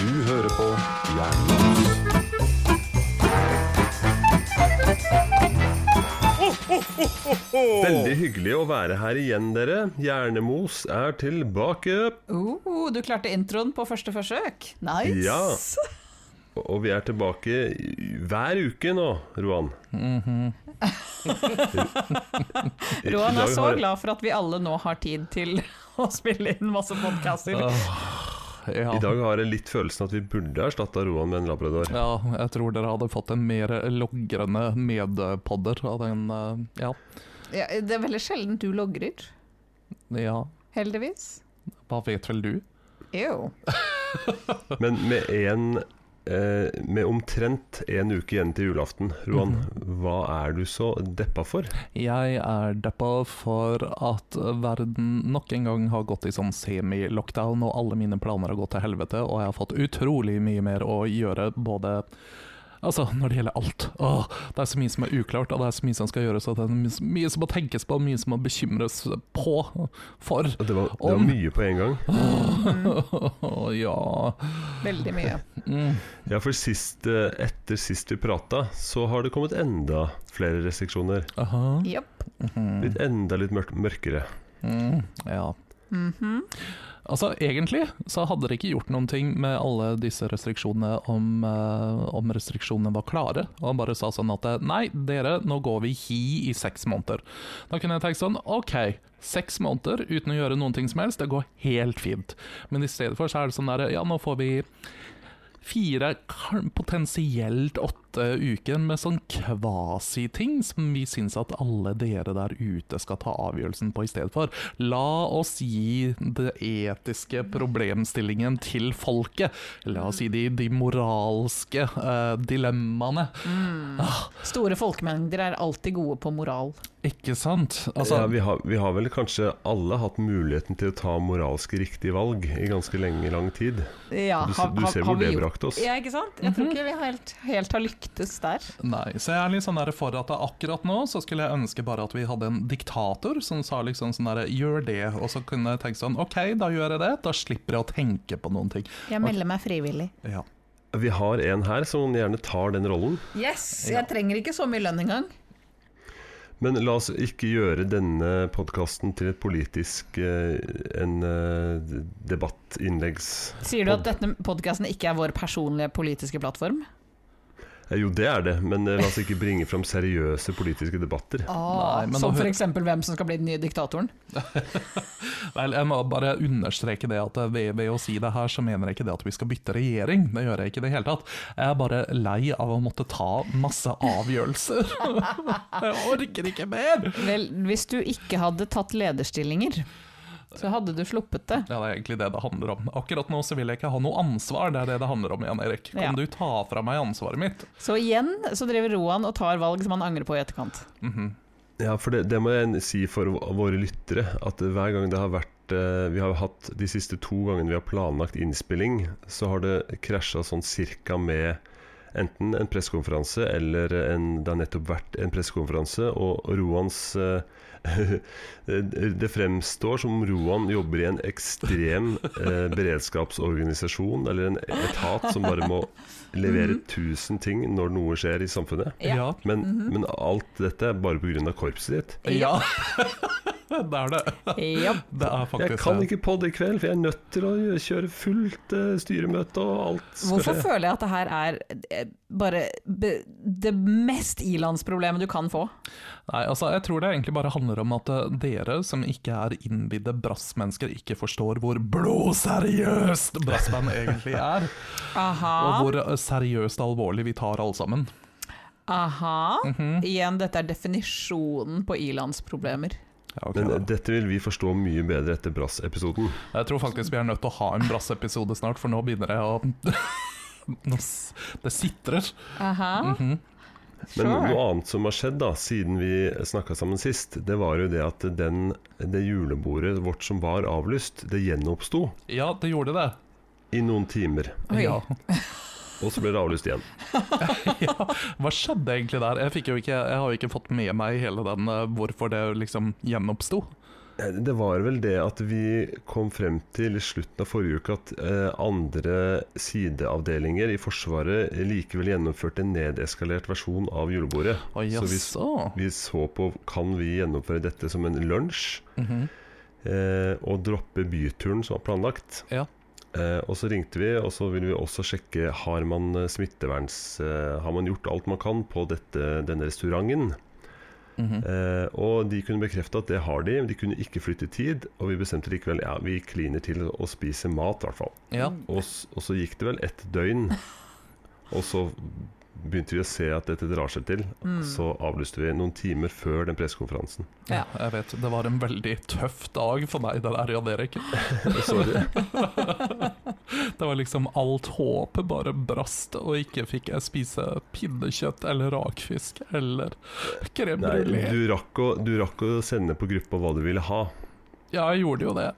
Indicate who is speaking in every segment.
Speaker 1: Du hører på Jernbanen. Veldig hyggelig å være her igjen, dere. Hjernemos er tilbake.
Speaker 2: Oh, du klarte introen på første forsøk. Nice.
Speaker 1: Ja. Og vi er tilbake hver uke nå, Roan.
Speaker 2: Mm-hmm.
Speaker 1: I
Speaker 2: Roan er
Speaker 1: dag
Speaker 2: så
Speaker 1: har-
Speaker 2: glad for at vi alle nå har tid til å spille inn masse podcaster.
Speaker 1: I
Speaker 3: Ja,
Speaker 1: dag har jeg litt følelsen at vi burde erstatta Roan med en labrador.
Speaker 3: ja, jeg tror dere hadde fått en mer logrende medpodder av den eh, Ja.
Speaker 2: Ja, det er veldig sjelden du logrer,
Speaker 3: ja.
Speaker 2: heldigvis.
Speaker 3: Hva vet vel du?
Speaker 2: Jo.
Speaker 1: Men med en eh, Med omtrent en uke igjen til julaften, Roan,
Speaker 2: Mhm.
Speaker 1: hva er du så deppa for?
Speaker 3: Jeg er deppa for at verden nok en gang har gått i sånn semi-lockdown, og alle mine planer har gått til helvete, og jeg har fått utrolig mye mer å gjøre, både Altså, når det gjelder alt. Åh, det er så mye som er uklart, og det er så mye som skal gjøres, og det er mye, mye som må tenkes på, mye som må bekymres på, for.
Speaker 1: Og Det var, det var
Speaker 3: Om.
Speaker 1: mye på en gang.
Speaker 3: ja.
Speaker 2: Veldig mye.
Speaker 3: Mm.
Speaker 1: Ja, for sist, eh, etter sist vi prata, så har det kommet enda flere restriksjoner.
Speaker 3: Aha.
Speaker 2: Jepp. Mm.
Speaker 1: Litt enda litt mørk mørkere.
Speaker 3: Mm, ja. Altså, egentlig så hadde det ikke gjort noen ting med alle disse restriksjonene om, eh, om restriksjonene var klare. Og han bare sa sånn at eh, nei, dere, nå går vi hi i seks måneder. Da kunne jeg tenkt sånn, ok, seks måneder uten å gjøre noen ting som helst, det går helt fint. Men i stedet for så er det sånn der, ja, nå får vi fire, kan- potensielt åtte uker med sånn kvasiting som vi syns at alle dere der ute skal ta avgjørelsen på i stedet for. La oss gi det etiske problemstillingen til folket. La oss gi de, de moralske eh, dilemmaene.
Speaker 2: Store folkemengder er alltid gode på moral.
Speaker 3: Ikke sant? Altså,
Speaker 1: ja, vi, har, vi har vel kanskje alle hatt muligheten til å ta moralsk riktig valg i ganske lenge, lang tid.
Speaker 2: Ja,
Speaker 1: Du, s-
Speaker 2: har-
Speaker 1: du
Speaker 2: har-
Speaker 1: ser
Speaker 2: har
Speaker 1: hvor
Speaker 2: vi
Speaker 1: det
Speaker 2: gjort-
Speaker 1: brakte oss.
Speaker 2: Ja, ikke sant? Jeg tror ikke vi helt, helt har lyktes der.
Speaker 3: Nei, så jeg er litt sånn der for at akkurat nå så skulle jeg ønske bare at vi hadde en diktator som sa liksom sånn der, gjør det, og så kunne jeg tenkt sånn, ok, da gjør jeg det, da slipper jeg å tenke på noen ting.
Speaker 2: Jeg melder meg frivillig.
Speaker 3: Ja.
Speaker 1: Vi har en her som gjerne tar den rollen.
Speaker 2: Yes! Jeg trenger ikke så mye lønn engang.
Speaker 1: Men la oss ikke gjøre denne podkasten til et politisk eh, en eh, debattinnleggs...
Speaker 2: Sier du at denne podkasten ikke er vår personlige politiske plattform?
Speaker 1: Eh, Jo, det er det, men eh, la oss ikke bringe fram seriøse politiske debatter.
Speaker 2: Ah,
Speaker 3: Nei, men
Speaker 2: som
Speaker 3: da hø-
Speaker 2: f.eks. hvem som skal bli den nye diktatoren?
Speaker 3: Vel, jeg må bare understreke det at eh, ved, ved å si det her, så mener jeg ikke det at vi skal bytte regjering. Det gjør jeg ikke i det hele tatt. Jeg er bare lei av å måtte ta masse avgjørelser. jeg orker ikke mer!
Speaker 2: Vel, hvis du ikke hadde tatt lederstillinger, så hadde du sluppet det.
Speaker 3: Ja, det er egentlig det det handler om. Akkurat nå så vil jeg ikke ha noe ansvar, det er det det handler om, Jan Erik. Kan
Speaker 2: Ja.
Speaker 3: du ta fra meg ansvaret mitt?
Speaker 2: Så igjen så driver Roan og tar valg som han angrer på i etterkant.
Speaker 1: Ja, for det, det må jeg si for v- våre lyttere, at hver gang det har vært eh, Vi har hatt de siste to gangene vi har planlagt innspilling, så har det krasja sånn cirka med enten en pressekonferanse eller en Det har nettopp vært en pressekonferanse, og Roans eh, Det fremstår som om Roan jobber i en ekstrem eh, beredskapsorganisasjon eller en etat som bare må levere tusen ting når noe skjer i samfunnet.
Speaker 2: Ja.
Speaker 1: Men,
Speaker 2: Mhm.
Speaker 1: men alt dette er bare pga. korpset ditt.
Speaker 3: Ja. det er det.
Speaker 2: Ja.
Speaker 3: Det er faktisk
Speaker 1: Jeg kan
Speaker 3: det.
Speaker 1: ikke podde i kveld, for jeg er nødt til å gjø- kjøre fullt eh, styremøte og alt. skal
Speaker 2: Hvorfor
Speaker 1: skje.
Speaker 2: føler jeg at det her er eh, bare be- det mest ilandsproblemet du kan få?
Speaker 3: Nei, altså, jeg tror det egentlig bare handler om at eh, dere som ikke er innvidde brassmennesker, ikke forstår hvor blodseriøst brassband egentlig er. Og
Speaker 2: Aha.
Speaker 3: hvor eh, seriøst alvorlig vi tar alle sammen.
Speaker 2: Aha.
Speaker 3: Mhm.
Speaker 2: Igjen, dette er definisjonen på ilandsproblemer.
Speaker 3: Ja, ok,
Speaker 1: Men eh,
Speaker 3: da.
Speaker 1: dette vil vi forstå mye bedre etter Brass-episoden.
Speaker 3: Jeg tror faktisk vi er nødt til å ha en brassepisode snart, for nå begynner jeg å Nå s- Det sitrer.
Speaker 2: Aha.
Speaker 3: Mhm.
Speaker 1: Men noe
Speaker 2: Sure.
Speaker 1: annet som har skjedd da, siden vi snakka sammen sist, det var jo det at den, det julebordet vårt som var avlyst, det gjenoppsto
Speaker 3: Ja, det gjorde det.
Speaker 1: i noen timer.
Speaker 2: Oi.
Speaker 3: Ja.
Speaker 1: Og så ble det avlyst igjen.
Speaker 3: ja, hva skjedde egentlig der? Jeg, fikk jo ikke, jeg har jo ikke fått med meg hele den eh, hvorfor det liksom gjenoppsto.
Speaker 1: Eh, Det var vel det at vi kom frem til i slutten av forrige uke at eh, andre sideavdelinger i Forsvaret likevel gjennomførte en nedeskalert versjon av julebordet.
Speaker 3: Å
Speaker 1: Så vi-
Speaker 3: jaså.
Speaker 1: Vi så på kan vi gjennomføre dette som en lunsj,
Speaker 3: Mhm.
Speaker 1: eh, og droppe byturen som var planlagt.
Speaker 3: Ja.
Speaker 1: Eh, og så ringte vi, og så ville vi også sjekke har man eh, smitteverns... Eh, har man gjort alt man kan på dette, denne restauranten?
Speaker 3: Mhm.
Speaker 1: Eh, og de kunne bekrefte at det har de, men de kunne ikke flytte tid. Og vi bestemte likevel ja, vi kliner til å spise mat, i hvert fall.
Speaker 3: ja.
Speaker 1: Og, s- og så gikk det vel ett døgn, og så begynte vi å se at dette drar seg til.
Speaker 2: Mm.
Speaker 1: Så avlyste vi noen timer før den pressekonferansen.
Speaker 3: Ja, jeg vet. Det var en veldig tøff dag for meg, det der, Jan Erik.
Speaker 1: Sorry.
Speaker 3: Det var liksom alt håpet bare brast, og ikke fikk jeg spise pinnekjøtt eller rakfisk eller crème
Speaker 1: Nei,
Speaker 3: brulé.
Speaker 1: du rakk, å, du rakk å sende på gruppa hva du ville ha.
Speaker 3: Ja, jeg gjorde jo det.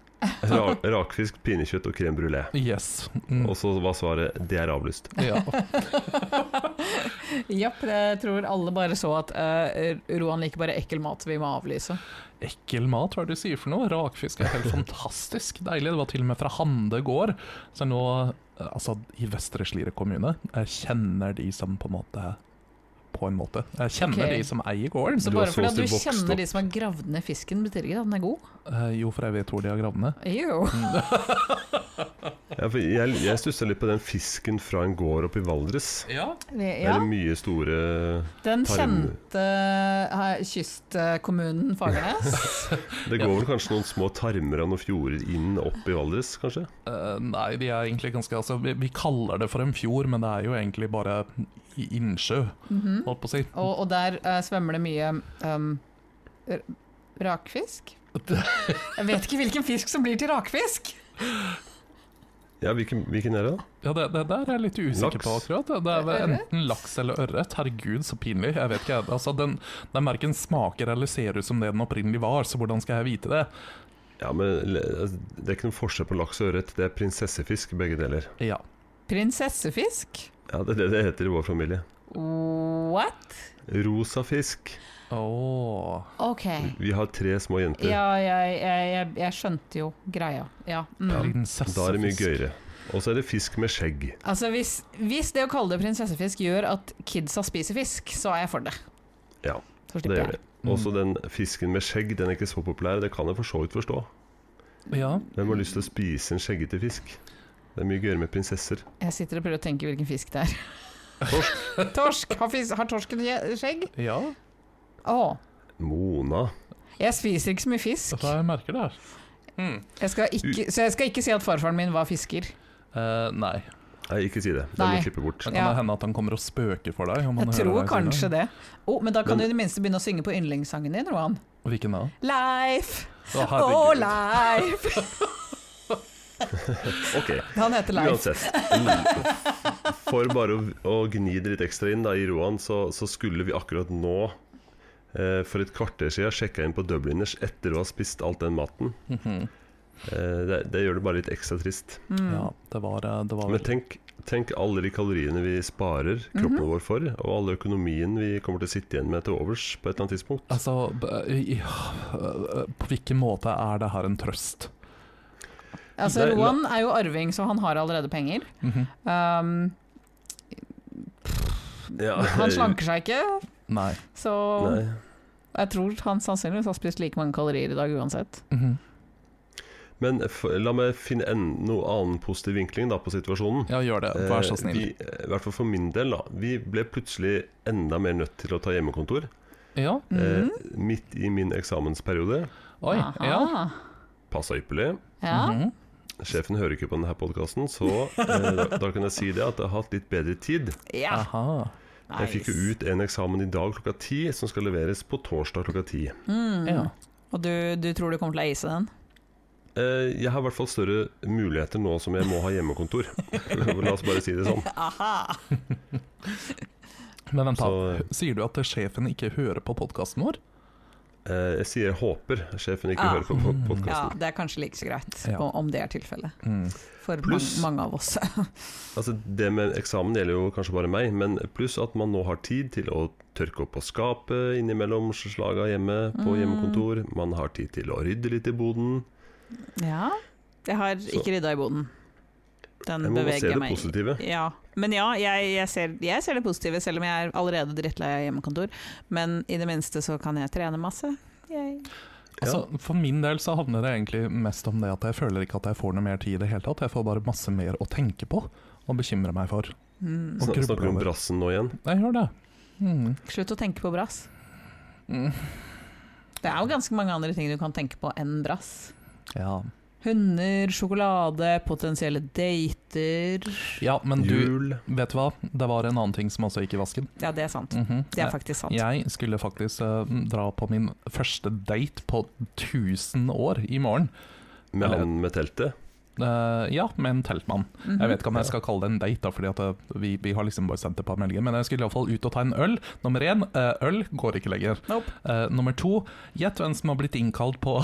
Speaker 1: Ra, rakfisk, pinnekjøtt og crème brulé.
Speaker 3: Yes. Mm.
Speaker 1: Og så var svaret 'det er avlyst'.
Speaker 3: Ja.
Speaker 2: Japp, jeg tror alle bare så at eh, Roan liker bare ekkel mat, vi må avlyse.
Speaker 3: Ekkel mat, hva er det du sier for noe? Rakfisk er helt fantastisk deilig. Det var til og med fra Hande gård. Så nå, eh, altså i Vestre Slidre kommune, jeg kjenner de som på en måte På en måte. Jeg kjenner
Speaker 2: Ok.
Speaker 3: de som eier gården.
Speaker 2: Så
Speaker 1: Du har
Speaker 2: bare
Speaker 1: så å
Speaker 2: fordi at
Speaker 1: si
Speaker 2: du
Speaker 1: vokst
Speaker 2: kjenner
Speaker 1: opp.
Speaker 2: de som har gravd ned fisken, betyr ikke det at den er god?
Speaker 3: Eh, jo, for jeg vet hvor de har gravd ned.
Speaker 2: Jo.
Speaker 1: Ja, for jeg jeg stussa litt på den fisken fra en gård oppe i Valdres.
Speaker 3: Ja.
Speaker 1: Ja.
Speaker 2: Ja,
Speaker 1: Det mye store
Speaker 2: den
Speaker 1: tarm-
Speaker 2: kjente eh, kystkommunen Fagernes.
Speaker 1: Det går vel kanskje noen små tarmer og noen fjorder inn opp i Valdres, kanskje?
Speaker 3: Eh, nei, de er egentlig ganske altså, vi, vi kaller det for en fjord, men det er jo egentlig bare i- innsjø,
Speaker 2: Mhm.
Speaker 3: holdt på å si.
Speaker 2: Og, og der eh, svømmer det mye um, r- rakfisk? Jeg vet ikke hvilken fisk som blir til rakfisk.
Speaker 1: Ja, hvilken, hvilken er det, da?
Speaker 3: Ja, det, det der er jeg litt usikker
Speaker 1: Laks.
Speaker 3: på akkurat. Det- Det er vel
Speaker 2: Ørret?
Speaker 3: enten laks eller ørret. Herregud, så pinlig. Jeg vet ikke. Altså, den, den verken smaker eller ser ut som det den opprinnelig var, så hvordan skal jeg vite det?
Speaker 1: Ja, men le- altså, Det er ikke noen forskjell på laks og ørret. Det er prinsessefisk, begge deler.
Speaker 3: Ja.
Speaker 2: Prinsessefisk?
Speaker 1: Ja, Det er det det heter i vår familie.
Speaker 2: What?
Speaker 1: Rosa fisk.
Speaker 3: Åh.
Speaker 2: Ok.
Speaker 1: Vi har tre små jenter.
Speaker 2: Ja, jeg, jeg, jeg, jeg skjønte jo greia. Ja. Mm.
Speaker 3: Prinsessefisk.
Speaker 1: Da er det mye gøyere. Og så er det fisk med skjegg.
Speaker 2: Altså, hvis, hvis det å kalle det prinsessefisk gjør at kidsa spiser fisk, så er jeg for det.
Speaker 1: Ja,
Speaker 2: Så
Speaker 1: Det gjør
Speaker 2: slipper
Speaker 1: det. Mm.
Speaker 2: jeg.
Speaker 1: Også den fisken med skjegg, den er ikke så populær. Det kan jeg for så vidt forstå.
Speaker 3: Ja.
Speaker 1: Hvem har lyst til å spise en skjeggete fisk? Det er mye gøyere med prinsesser.
Speaker 2: Jeg sitter og prøver å tenke hvilken fisk det er. Torsk. Har, fisk, har torsken gje- skjegg?
Speaker 3: ja.
Speaker 2: Å.
Speaker 1: Mona.
Speaker 2: Jeg spiser ikke så mye fisk.
Speaker 3: Hva jeg merker der? Mm.
Speaker 2: Jeg skal ikke, så jeg skal ikke si at farfaren min var fisker.
Speaker 3: Eh, nei.
Speaker 1: Nei, ikke si det. Det må
Speaker 2: Nei.
Speaker 1: du klippe bort.
Speaker 3: Det kan
Speaker 2: Ja.
Speaker 3: hende at han kommer og spøker for deg. Om han
Speaker 2: Jeg
Speaker 3: hører
Speaker 2: tror
Speaker 3: deg si
Speaker 2: kanskje det. Å, men da kan
Speaker 1: Men-
Speaker 2: du i det minste begynne å synge på yndlingssangen din, Roan.
Speaker 3: det. Hvilken da?
Speaker 2: Leif,
Speaker 3: Å,
Speaker 2: å
Speaker 3: herregud.
Speaker 2: Leif.
Speaker 1: Ok,
Speaker 2: Han heter Leif.
Speaker 1: uansett. For bare å, å gni det litt ekstra inn da, i Roan, så, så skulle vi akkurat nå eh, for et kvarter siden sjekka inn på Dubliners etter å ha spist alt den maten.
Speaker 3: Mhm.
Speaker 1: Eh, det, det gjør det bare litt ekstra trist.
Speaker 2: Mm.
Speaker 3: Ja, det var, eh, det var
Speaker 1: Men tenk, tenk alle de kaloriene vi sparer kroppen
Speaker 2: Mhm.
Speaker 1: vår for, og alle økonomien vi kommer til å sitte igjen med til overs på et eller annet tidspunkt.
Speaker 3: Altså, b- i- øh, på hvilken måte er det her en trøst?
Speaker 2: Altså,
Speaker 1: Nei, la-
Speaker 2: Roan er jo arving, så han har allerede penger.
Speaker 3: Mhm.
Speaker 2: Um, han slanker seg ikke,
Speaker 3: Nei.
Speaker 2: så
Speaker 1: Nei.
Speaker 2: jeg tror han sannsynligvis har spist like mange kalorier i dag uansett.
Speaker 3: Mhm.
Speaker 1: Men f la meg finne en, noe annen positiv vinkling da, på situasjonen.
Speaker 3: Ja, gjør det. Vær så
Speaker 1: Eh,
Speaker 3: snill.
Speaker 1: Vi, eh, I hvert fall for min del, da. Vi ble plutselig enda mer nødt til å ta hjemmekontor.
Speaker 3: Ja.
Speaker 1: eh,
Speaker 2: Mhm.
Speaker 1: midt i min eksamensperiode.
Speaker 3: Oi. Ja.
Speaker 2: Aha.
Speaker 1: Passa ypperlig.
Speaker 2: Ja.
Speaker 3: Mhm.
Speaker 1: Sjefen hører ikke på denne podkasten, så eh, da, da kan jeg si det at jeg har hatt litt bedre tid.
Speaker 2: ja.
Speaker 3: Aha.
Speaker 1: Jeg fikk jo
Speaker 2: nice.
Speaker 1: ut en eksamen i dag klokka ti, som skal leveres på torsdag klokka ti.
Speaker 2: Mm.
Speaker 3: Ja.
Speaker 2: Og du, du tror du kommer til å ace den?
Speaker 1: Eh, jeg har i hvert fall større muligheter nå som jeg må ha hjemmekontor. La oss bare si det sånn.
Speaker 2: Aha.
Speaker 3: Men vent, da.
Speaker 1: Så-
Speaker 3: Sier du at sjefen ikke hører på podkasten vår?
Speaker 1: Eh, Jeg sier jeg håper sjefen ikke
Speaker 2: Ah.
Speaker 1: hører på pod-
Speaker 2: Ja,
Speaker 1: podkasten.
Speaker 2: det er kanskje like så greit,
Speaker 3: Ja.
Speaker 2: om- om det er tilfellet.
Speaker 3: Mm.
Speaker 2: For
Speaker 1: Pluss-
Speaker 2: mang- mange av oss.
Speaker 1: Altså, det med eksamen gjelder jo kanskje bare meg, men pluss at man nå har tid til å tørke opp på skapet innimellom slaga hjemme, på
Speaker 2: Mm.
Speaker 1: hjemmekontor. Man har tid til å rydde litt i boden.
Speaker 2: Ja. Jeg har
Speaker 1: Så-
Speaker 2: ikke rydda i boden. Den
Speaker 1: Jeg må se
Speaker 2: beveger
Speaker 1: det
Speaker 2: meg
Speaker 1: positive.
Speaker 2: Ja, men ja, jeg, jeg, ser, jeg ser det positive, selv om jeg er allerede drittlei av hjemmekontor. Men i det minste så kan jeg trene masse. Yay.
Speaker 3: Altså, For min del så handler det egentlig mest om det at jeg føler ikke at jeg får noe mer tid i det hele tatt. Jeg får bare masse mer å tenke på og bekymre meg for.
Speaker 1: Sn-
Speaker 2: Mm.
Speaker 3: grubler
Speaker 1: Snakker du om
Speaker 3: over.
Speaker 1: brassen nå igjen?
Speaker 3: Jeg gjør det. Mm.
Speaker 2: Slutt å tenke på brass.
Speaker 3: Mm.
Speaker 2: Det er jo ganske mange andre ting du kan tenke på enn brass.
Speaker 3: Ja.
Speaker 2: Hunder, sjokolade, potensielle dater
Speaker 3: ja, men du
Speaker 1: Jul?
Speaker 3: Vet du hva, det var en annen ting som også gikk i vasken.
Speaker 2: Ja, det er sant.
Speaker 3: Mhm.
Speaker 2: Det er faktisk sant.
Speaker 3: Jeg skulle faktisk eh, dra på min første date på 1000 år i morgen.
Speaker 1: Med han med teltet?
Speaker 3: Eh, ja, med en teltmann.
Speaker 2: Mhm.
Speaker 3: Jeg vet ikke om jeg skal kalle det en date, da, fordi at eh, vi, vi har liksom bare sendt det på meldingen. Men jeg skulle iallfall ut og ta en øl. Nummer én, eh, øl går ikke lenger.
Speaker 2: Nope.
Speaker 3: Eh, nummer to, gjett hvem som har blitt innkalt på,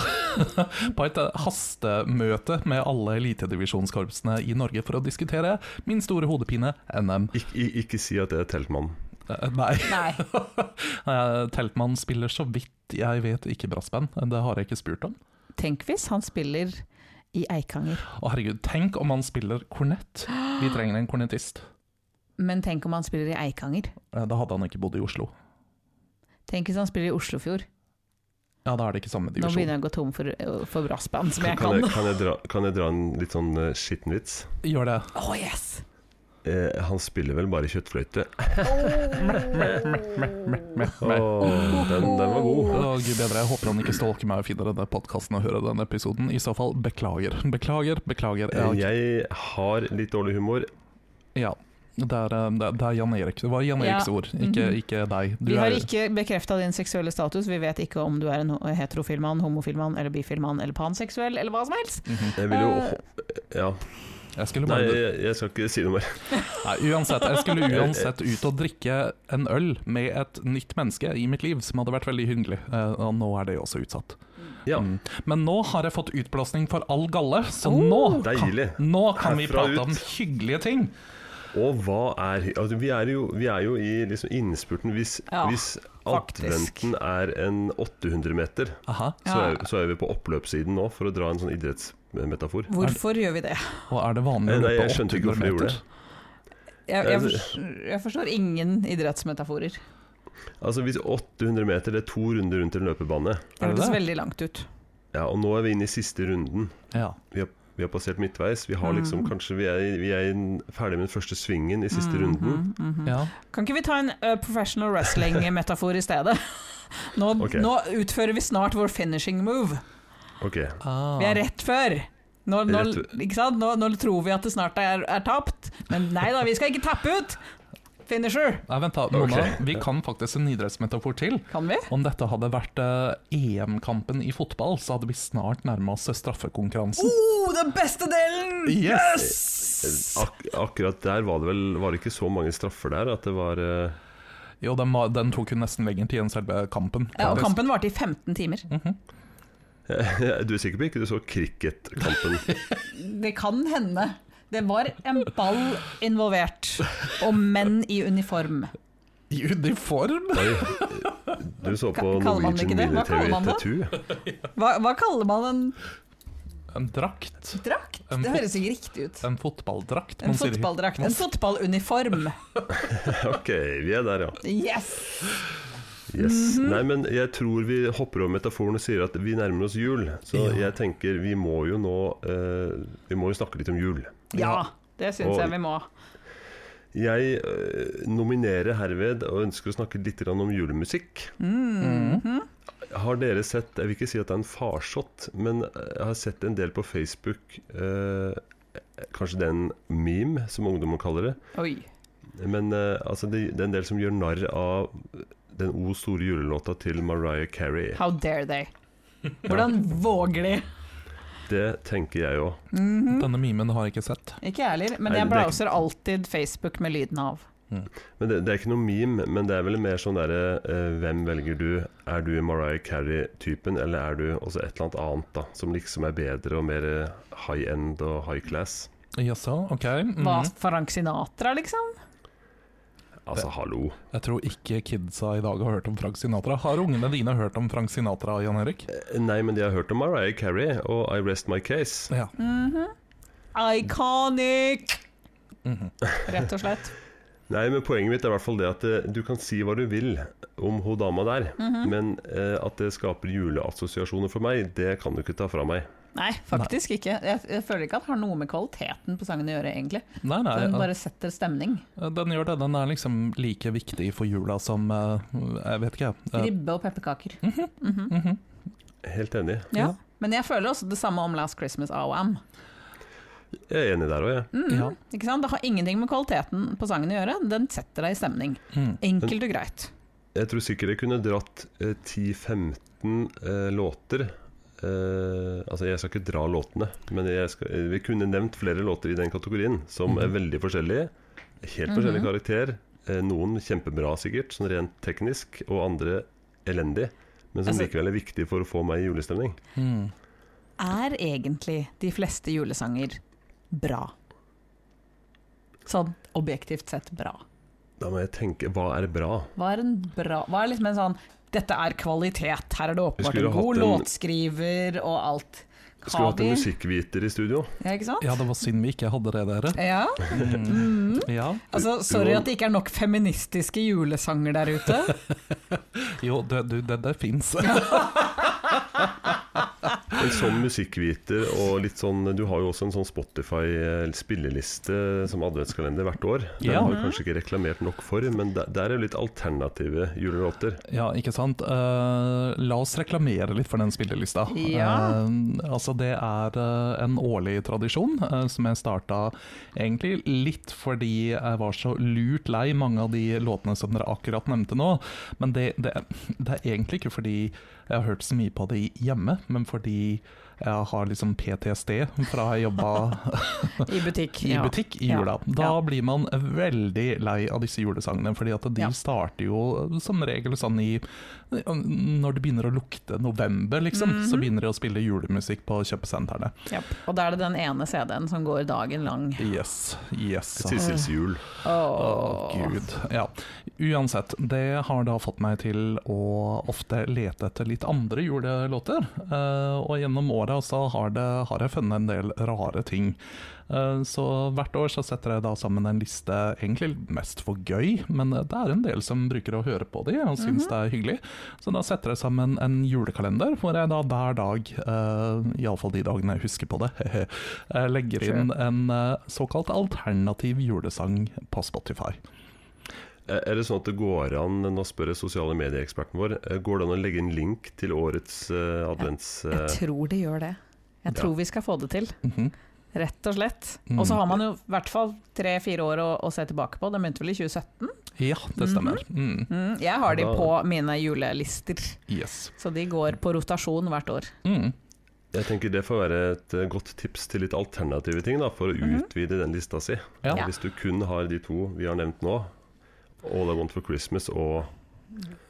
Speaker 3: på et eh, hastemøte med alle elitedivisjonskorpsene i Norge for å diskutere min store hodepine, NM.
Speaker 1: Ik i- ikke si at det er teltmannen.
Speaker 3: Eh, nei.
Speaker 2: Nei.
Speaker 3: Eh, Teltmann spiller så vidt jeg vet ikke brassband. Det har jeg ikke spurt om.
Speaker 2: Tenk hvis han spiller i Eikanger.
Speaker 3: Å herregud, tenk om han spiller kornett. Vi trenger en kornettist.
Speaker 2: Men tenk om han spiller i Eikanger.
Speaker 3: Eh, Da hadde han ikke bodd i Oslo.
Speaker 2: Tenk hvis han spiller i Oslofjord.
Speaker 3: Ja, da er det ikke samme
Speaker 2: Nå
Speaker 3: divisjon.
Speaker 2: begynner jeg å gå tom for, eh, for brassband, som
Speaker 1: Kan,
Speaker 2: jeg
Speaker 1: kan,
Speaker 2: kan.
Speaker 1: jeg, kan, jeg dra, kan jeg dra en litt sånn eh, skitten vits?
Speaker 3: Gjør det.
Speaker 2: Å, yes!
Speaker 1: Eh, han spiller vel bare kjøttfløyte.
Speaker 3: Nei.
Speaker 1: Åh, den, den var
Speaker 3: Å,
Speaker 1: god.
Speaker 3: gud bedre, jeg håper han ikke stalker meg og finner denne podkasten og hører denne episoden. I så fall, beklager. Beklager, beklager.
Speaker 1: Eh,
Speaker 3: Jeg,
Speaker 1: Jeg har litt dårlig humor.
Speaker 3: ja. Det er, eh, det er- det er Jan Erik. Det var Jan Eriks
Speaker 2: Ja.
Speaker 3: ord, ikke,
Speaker 2: Mhm.
Speaker 3: ikke deg. Du
Speaker 2: Vi har
Speaker 3: er-
Speaker 2: ikke bekrefta din seksuelle status. Vi vet ikke om du er en ho- heterofil mann, homofil mann eller bifil mann eller panseksuell eller hva som helst.
Speaker 3: Mhm.
Speaker 1: Jeg vil jo
Speaker 2: Eh.
Speaker 1: Ja.
Speaker 3: Jeg skulle
Speaker 1: Nei,
Speaker 3: bare
Speaker 1: jeg, jeg skal ikke si noe mer.
Speaker 3: Nei, uansett, jeg skulle uansett ut og drikke en øl med et nytt menneske i mitt liv, som hadde vært veldig hyggelig, eh, og nå er det jo også utsatt.
Speaker 1: Ja,
Speaker 3: Mm. Men nå har jeg fått utblåsning for all galle, så
Speaker 2: Oh.
Speaker 3: nå, kan,
Speaker 1: Deilig.
Speaker 3: nå kan vi
Speaker 1: Herfra
Speaker 3: prate
Speaker 1: ut.
Speaker 3: om hyggelige ting.
Speaker 1: Og hva er hy- altså, vi, er jo, vi er jo i liksom innspurten. Hvis,
Speaker 2: Ja,
Speaker 1: hvis
Speaker 2: faktisk.
Speaker 1: adventen er en 800-meter,
Speaker 3: Aha,
Speaker 1: så,
Speaker 2: Ja.
Speaker 1: er- så er vi på oppløpssiden nå, for å dra en sånn idrettsmetafor.
Speaker 2: Hvorfor gjør vi det?
Speaker 3: og er det vanlig å
Speaker 1: Nei,
Speaker 3: løpe
Speaker 1: jeg skjønte ikke
Speaker 3: 800
Speaker 1: hvorfor de gjorde
Speaker 3: meter?
Speaker 1: det.
Speaker 2: Jeg, jeg, forstår, jeg forstår ingen idrettsmetaforer.
Speaker 1: Altså Hvis 800 meter det er to runder rundt en løpebane,
Speaker 2: Det
Speaker 3: Er det
Speaker 2: hørtes
Speaker 3: det?
Speaker 2: veldig langt ut.
Speaker 1: ja, og nå er vi inne i siste runden
Speaker 3: Ja.
Speaker 1: Vi har passert midtveis. Vi har liksom
Speaker 2: Mm.
Speaker 1: kanskje Vi er, vi er inn- ferdig med den første svingen i siste
Speaker 2: Mhm,
Speaker 1: runden.
Speaker 2: mhm.
Speaker 3: ja.
Speaker 2: Kan ikke vi ta en ø, professional wrestling-metafor i stedet? Nå,
Speaker 1: Ok.
Speaker 2: nå utfører vi snart vår finishing move.
Speaker 1: Ok,
Speaker 3: Ah.
Speaker 2: Vi er rett før. Nå, nå,
Speaker 1: Rett
Speaker 2: ikke sant? Nå, nå tror vi at det snart er, er tapt, men nei da, vi skal ikke tappe ut! Finisher,
Speaker 3: Nei, vent da, Mona.
Speaker 1: Ok.
Speaker 3: Vi kan faktisk en idrettsmetafor til.
Speaker 2: kan vi?
Speaker 3: Om dette hadde vært eh, EM-kampen i fotball, så hadde vi snart nærma oss straffekonkurransen.
Speaker 2: Oh, den beste delen!
Speaker 3: Yes!
Speaker 1: Ak akkurat der var det vel Var det ikke så mange straffer der at det var eh,
Speaker 3: Jo, den, var, den tok jo nesten lenger tid enn selve kampen.
Speaker 2: Ja, og
Speaker 3: faktisk.
Speaker 2: kampen varte i 15 timer.
Speaker 3: Mm.
Speaker 1: Eh, Du er sikker på ikke du så cricketkampen?
Speaker 2: Det kan hende. Det var en ball involvert, og menn i uniform.
Speaker 3: I uniform?
Speaker 1: Oi. Du så på
Speaker 2: Ka- kaller man det
Speaker 1: Norwegian
Speaker 2: ikke det? Hva
Speaker 1: Military
Speaker 2: kaller man det?
Speaker 1: Tattoo.
Speaker 2: Hva, hva kaller man en
Speaker 3: En drakt.
Speaker 2: drakt?
Speaker 3: En
Speaker 2: Det
Speaker 3: fot-
Speaker 2: høres ikke riktig ut.
Speaker 3: En fotballdrakt.
Speaker 2: En
Speaker 3: man sier.
Speaker 2: fotballdrakt. En fotballuniform.
Speaker 1: Ok, vi er der, ja.
Speaker 2: Yes!
Speaker 1: Yes.
Speaker 2: Mhm.
Speaker 1: Nei, men jeg tror vi hopper over metaforen og sier at vi nærmer oss jul. Så jeg tenker vi må jo nå eh, Vi må jo snakke litt om jul.
Speaker 2: Ja, det syns
Speaker 1: Og-
Speaker 2: jeg vi må.
Speaker 1: Jeg eh, nominerer herved og ønsker å snakke litt grann om julemusikk. Har dere sett Jeg vil ikke si at det er en farsott, men eh, jeg har sett en del på Facebook eh, Kanskje det er en meme, som ungdommen kaller det.
Speaker 2: Oi.
Speaker 1: Men eh, altså, det, det er en del som gjør narr av den O store julelåta til Mariah Carey.
Speaker 2: How dare they? Hvordan våger de?
Speaker 1: Det tenker jeg òg.
Speaker 2: Mhm.
Speaker 3: Denne memen har jeg ikke sett.
Speaker 2: Ikke jeg heller, men
Speaker 1: Nei, det
Speaker 2: jeg
Speaker 1: er ikke-
Speaker 2: browser alltid Facebook med lyden av.
Speaker 1: Men det, det er ikke noe meme, men det er vel mer sånn derre eh, Hvem velger du? Er du Mariah Carey-typen, eller er du også et eller annet annet, da? Som liksom er bedre og mer eh, high end og high class?
Speaker 3: Jaså, ok. mhm.
Speaker 2: Hva Frank Sinatra, liksom?
Speaker 1: Altså, hallo.
Speaker 3: Jeg tror ikke kidsa i dag har hørt om Frank Sinatra. Har ungene dine hørt om Frank Sinatra, Jan Erik?
Speaker 1: Eh, Nei, men de har hørt om Mariah Carey og I Rest My Case.
Speaker 2: Mm.
Speaker 3: Ja.
Speaker 2: Iconic!
Speaker 3: Mhm.
Speaker 2: Rett og slett.
Speaker 1: Nei, men poenget mitt er i hvert fall det at eh, du kan si hva du vil om hun dama der, men eh, at det skaper juleassosiasjoner for meg, det kan du ikke ta fra meg.
Speaker 2: Nei, faktisk ikke. Jeg, jeg føler ikke at det har noe med kvaliteten på sangen å gjøre, egentlig.
Speaker 3: Nei, nei.
Speaker 2: Den bare setter stemning.
Speaker 3: eh, Den gjør det. Den er liksom like viktig for jula som eh, Jeg vet ikke, jeg. Eh,
Speaker 2: Ribbe og pepperkaker.
Speaker 3: mhm.
Speaker 1: Helt enig.
Speaker 2: Ja. Men jeg føler også det samme om Last Christmas av Wham.
Speaker 1: Jeg er enig der òg, jeg.
Speaker 2: Mm,
Speaker 3: Ja.
Speaker 2: Ikke sant? Det har ingenting med kvaliteten på sangen å gjøre, den setter deg i stemning.
Speaker 3: Mm.
Speaker 2: Enkelt og greit.
Speaker 1: Jeg tror sikkert jeg kunne dratt eh, 10-15 eh, låter. Eh, altså Jeg skal ikke dra låtene, men jeg skal, eh, vi kunne nevnt flere låter i den kategorien som er
Speaker 3: Mhm.
Speaker 1: veldig forskjellige. Helt forskjellig
Speaker 2: Mhm.
Speaker 1: karakter. Eh, noen kjempebra, sikkert, sånn rent teknisk, og andre elendig. Men som
Speaker 2: Altså-
Speaker 1: likevel er viktig for å få meg i julestemning.
Speaker 3: Mm.
Speaker 2: Er egentlig de fleste julesanger bra? Sånn objektivt sett bra.
Speaker 1: Da må jeg tenke hva er bra?
Speaker 2: Hva er en bra Hva er liksom en sånn Dette er kvalitet, her er
Speaker 1: Vi
Speaker 2: det åpenbart
Speaker 1: skulle
Speaker 2: en god
Speaker 1: hatt en-
Speaker 2: låtskriver og alt.
Speaker 1: Skulle hatt en
Speaker 2: vi-
Speaker 1: musikkviter i studio.
Speaker 2: Ja, ikke sant?
Speaker 3: Ja, det var synd vi ikke hadde det, dere.
Speaker 2: Ja.
Speaker 3: Mm.
Speaker 2: Mm.
Speaker 3: Ja.
Speaker 2: Altså, sorry at det ikke er nok feministiske julesanger der ute.
Speaker 3: Jo, du, du det, det fins.
Speaker 1: En sånn musikkviter og litt sånn Du har jo også en sånn Spotify-spilleliste som adventskalender hvert år. Den
Speaker 3: Ja.
Speaker 1: har vi kanskje ikke reklamert nok for, men der, der er jo litt alternative julelåter.
Speaker 3: Ja, ikke sant. Eh, la oss reklamere litt for den spillelista.
Speaker 2: Ja.
Speaker 3: Eh, altså det er eh, en årlig tradisjon eh, som jeg starta egentlig litt fordi jeg var så lurt lei mange av de låtene som dere akkurat nevnte nå. Men det, det, det er egentlig ikke fordi jeg har hørt så mye på de hjemme, men fordi jeg har liksom PTSD fra jeg jobba
Speaker 2: I butikk.
Speaker 3: i
Speaker 2: ja.
Speaker 3: butikk i
Speaker 2: Ja.
Speaker 3: jula. Da
Speaker 2: Ja.
Speaker 3: blir man veldig lei av disse julesangene, fordi at de
Speaker 2: Ja.
Speaker 3: starter jo som regel sånn i Når det begynner å lukte november, liksom, så
Speaker 2: Mhm.
Speaker 3: begynner de å spille julemusikk på kjøpesentrene.
Speaker 2: Japp. Og da er det den ene CD-en som går dagen lang.
Speaker 3: Yes, yes.
Speaker 1: Sissels jul.
Speaker 3: Å, gud. Ja. Uansett, det har da fått meg til å ofte lete etter litt andre julelåter. Eh, og gjennom åra så har, det, har jeg funnet en del rare ting. Eh, så hvert år så setter jeg da sammen en liste, egentlig mest for gøy, men eh, det er en del som bruker å høre på de og syns det er hyggelig. Så da setter jeg sammen en julekalender hvor jeg da hver dag, eh, iallfall de dagene jeg husker på det, eh, legger
Speaker 2: Sure.
Speaker 3: inn en eh, såkalt alternativ julesang på Spotify.
Speaker 1: Eh, Er det sånn at det går an, nå spør jeg sosiale medieeksperten vår, eh, går det an å legge en link til årets eh, advents... eh,
Speaker 2: Jeg tror det gjør det. Jeg
Speaker 1: Ja.
Speaker 2: tror vi skal få det til,
Speaker 3: Mhm.
Speaker 2: rett og slett.
Speaker 3: Mm.
Speaker 2: Og så har man jo i hvert fall tre-fire år å, å se tilbake på. Den begynte vel i 2017?
Speaker 3: Ja, det stemmer. Mm.
Speaker 2: Mm, jeg har de
Speaker 1: Da-
Speaker 2: på mine julelister,
Speaker 3: Yes.
Speaker 2: så de går på rotasjon hvert år.
Speaker 3: Mm.
Speaker 1: eh, jeg tenker det får være et eh, godt tips til litt alternative ting, da, for å
Speaker 2: Mhm.
Speaker 1: utvide den lista si.
Speaker 3: Ja.
Speaker 2: Ja.
Speaker 1: Hvis du kun har de to vi har nevnt nå, All I Want for Christmas og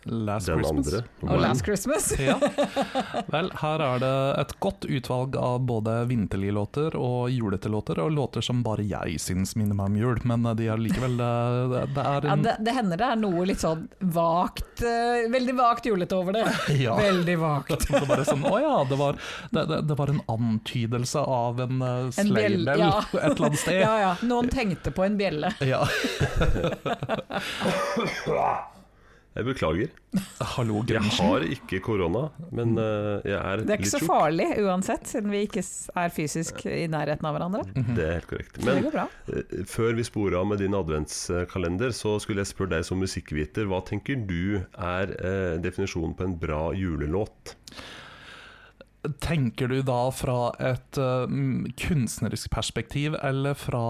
Speaker 3: Last
Speaker 1: den
Speaker 3: Altså Christmas.
Speaker 1: andre.
Speaker 2: Og
Speaker 1: Wham.
Speaker 2: Last Christmas!
Speaker 3: Ja. Vel, her er det et godt utvalg av både vinterlige låter og julete låter, og låter som bare jeg syns minner meg om jul, men eh, de er likevel eh, Det, det er
Speaker 2: Ja,
Speaker 3: en
Speaker 2: det, det hender det er noe litt sånn vagt eh, Veldig vagt julete over det.
Speaker 3: Ja.
Speaker 2: Veldig vagt.
Speaker 3: Det var bare sånn, å ja, det var, det, det, det var en antydelse av en uh,
Speaker 2: En bjell-
Speaker 3: sleibell
Speaker 2: ja.
Speaker 3: et eller annet sted.
Speaker 2: Ja, ja. Noen tenkte på en bjelle.
Speaker 3: Ja.
Speaker 1: Jeg beklager.
Speaker 3: Hallo,
Speaker 1: Jeg
Speaker 3: Grinch.
Speaker 1: har ikke korona, men eh, jeg er,
Speaker 2: Det er ikke
Speaker 1: litt
Speaker 2: så
Speaker 1: tjukk.
Speaker 2: farlig uansett, siden vi ikke s- er fysisk i nærheten av hverandre.
Speaker 3: Mhm.
Speaker 1: Det er helt korrekt.
Speaker 2: Så det
Speaker 1: Men
Speaker 2: går bra.
Speaker 1: eh, før vi sporer av med din adventskalender, så skulle jeg spørre deg som musikkviter, hva tenker du er eh, definisjonen på en bra julelåt?
Speaker 3: Tenker du da fra et eh, mm, kunstnerisk perspektiv, eller fra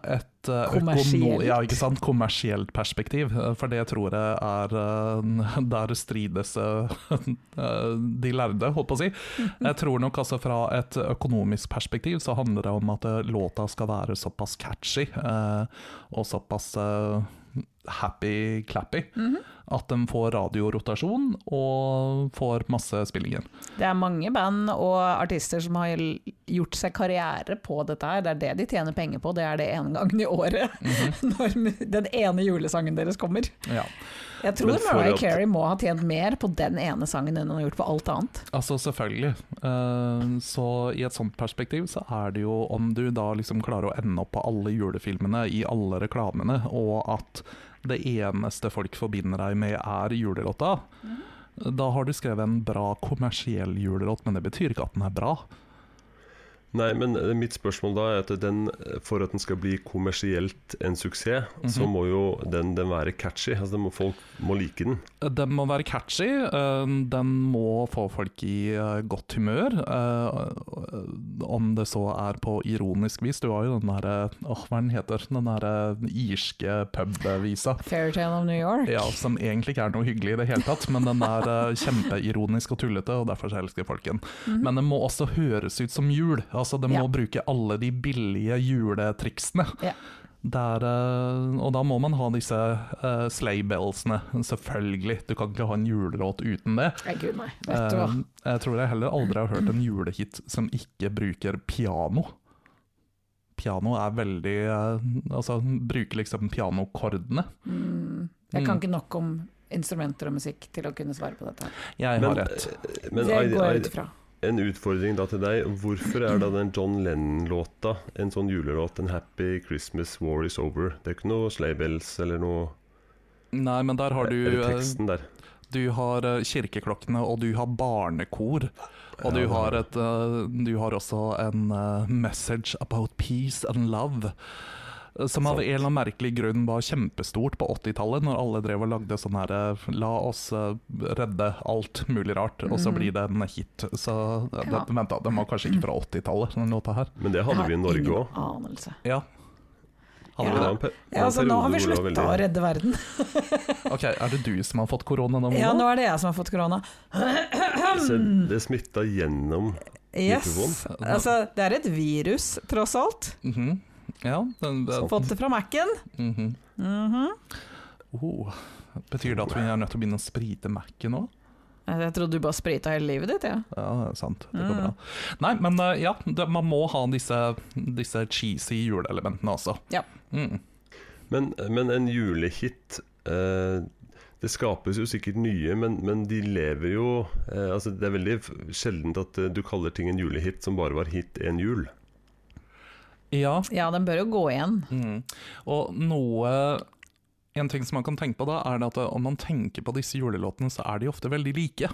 Speaker 3: et eh, økono-
Speaker 2: Kommersielt.
Speaker 3: ja, ikke sant? kommersielt perspektiv? Eh, For det tror jeg er eh, Der strides eh, eh, de lærde, holdt på å si. Jeg tror nok altså fra et økonomisk perspektiv så handler det om at eh, låta skal være såpass catchy eh, og såpass eh, happy-clappy. At de får radiorotasjon og får masse spill igjen.
Speaker 2: Det er mange band og artister som har gjort seg karriere på dette her. Det er det de tjener penger på, det er det ene gangen i året. Når den ene julesangen deres kommer.
Speaker 3: Ja.
Speaker 2: Jeg tror
Speaker 1: Men for
Speaker 2: Mariah
Speaker 1: at-
Speaker 2: Carey må ha tjent mer på den ene sangen enn hun har gjort på alt annet.
Speaker 3: Altså, selvfølgelig. Eh, så i et sånt perspektiv så er det jo om du da liksom klarer å ende opp på alle julefilmene, i alle reklamene, og at det eneste folk forbinder deg med er julelåta, da har du skrevet en bra kommersiell julelåt, men det betyr ikke at den er bra.
Speaker 1: Nei, men eh, mitt spørsmål da er at den, eh, for at den skal bli kommersielt en suksess, så
Speaker 3: Mhm.
Speaker 1: må jo den, den være catchy. Altså, den må, folk må like den.
Speaker 3: Eh, Den må være catchy, eh, den må få folk i eh, godt humør. eh, Om det så er på ironisk vis. Du har jo den derre Åh, hva er den heter? Den derre irske pubvisa.
Speaker 2: Fairytale of New York.
Speaker 3: Ja, som egentlig ikke er noe hyggelig i det hele tatt, men den er eh, kjempeironisk og tullete, og derfor så elsker folk den.
Speaker 2: Mhm.
Speaker 3: Men den må også høres ut som jul. Altså, den
Speaker 2: Ja.
Speaker 3: må bruke alle de billige juletriksene.
Speaker 2: Ja.
Speaker 3: Der, eh, og da må man ha disse uh, sleigh-bellsene, selvfølgelig. Du kan ikke ha en julelåt uten det.
Speaker 2: Nei, gud, nei. Vet du hva.
Speaker 3: Eh, jeg tror jeg heller aldri har hørt en julehit som ikke bruker piano. Piano er veldig eh, Altså, bruker liksom pianokordene.
Speaker 2: Mm. Jeg kan
Speaker 3: Mm.
Speaker 2: ikke nok om instrumenter og musikk til å kunne svare på dette. her.
Speaker 3: Jeg
Speaker 1: Men,
Speaker 3: har rett.
Speaker 1: eh, men
Speaker 2: det
Speaker 1: I-
Speaker 2: går
Speaker 1: I-
Speaker 2: jeg ut ifra.
Speaker 1: en utfordring da til deg. Hvorfor er da den John Lennon-låta en sånn julelåt? En 'Happy Christmas War Is Over'? Det er ikke noe sleigh bells eller noe
Speaker 3: Nei, men der har du
Speaker 1: Eller
Speaker 3: eh,
Speaker 1: teksten der.
Speaker 3: Du har eh, kirkeklokkene, og du har barnekor. Og du
Speaker 1: Ja,
Speaker 3: har,
Speaker 1: det-
Speaker 3: et, eh, du har også en eh, message about peace and love. eh, Som av
Speaker 1: Sant.
Speaker 3: en eller annen merkelig grunn var kjempestort på 80-tallet, når alle drev og lagde sånn her eh, La oss eh, redde alt mulig rart, og så
Speaker 2: Mhm.
Speaker 3: blir det en hit. Så eh,
Speaker 2: Ja.
Speaker 3: den- vent da, den var kanskje ikke fra 80-tallet, den låta her.
Speaker 1: Men det
Speaker 2: Jeg
Speaker 1: hadde
Speaker 2: har
Speaker 1: vi i Norge òg.
Speaker 2: Ingen anelse.
Speaker 3: Ja. Hadde vi
Speaker 2: Ja.
Speaker 3: det?
Speaker 2: Ja, altså, nå har vi slutta å redde verden.
Speaker 3: Ok, er det du som har fått korona nå?
Speaker 2: Ja,
Speaker 3: Mona?
Speaker 2: nå er det jeg som har fått korona.
Speaker 1: Så det smitta gjennom
Speaker 2: Yes.
Speaker 1: Mikrofon.
Speaker 2: Altså, det er et virus, tross alt.
Speaker 3: Mhm. Ja, den, eh, den,
Speaker 2: Fått det fra Mac-en.
Speaker 3: mhm.
Speaker 2: Mhm.
Speaker 3: Oh, betyr det at vi er nødt til å begynne å sprite Mac-en nå?
Speaker 2: Eh, Jeg trodde du bare sprita hele livet ditt, jeg.
Speaker 3: Ja, sant. Det går
Speaker 2: Mm.
Speaker 3: bra. Nei, men eh, ja, det, man må ha disse, disse cheesy juleelementene også.
Speaker 2: Ja.
Speaker 3: Mm.
Speaker 1: Men, men en julehit eh, Det skapes jo sikkert nye, men, men de lever jo eh, altså Det er veldig f- sjeldent at eh, du kaller ting en julehit som bare var hit en jul.
Speaker 3: Ja.
Speaker 2: Ja, den bør jo gå igjen.
Speaker 3: Mm. Og noe En ting som man kan tenke på da, er det at eh, om man tenker på disse julelåtene, så er de ofte veldig like.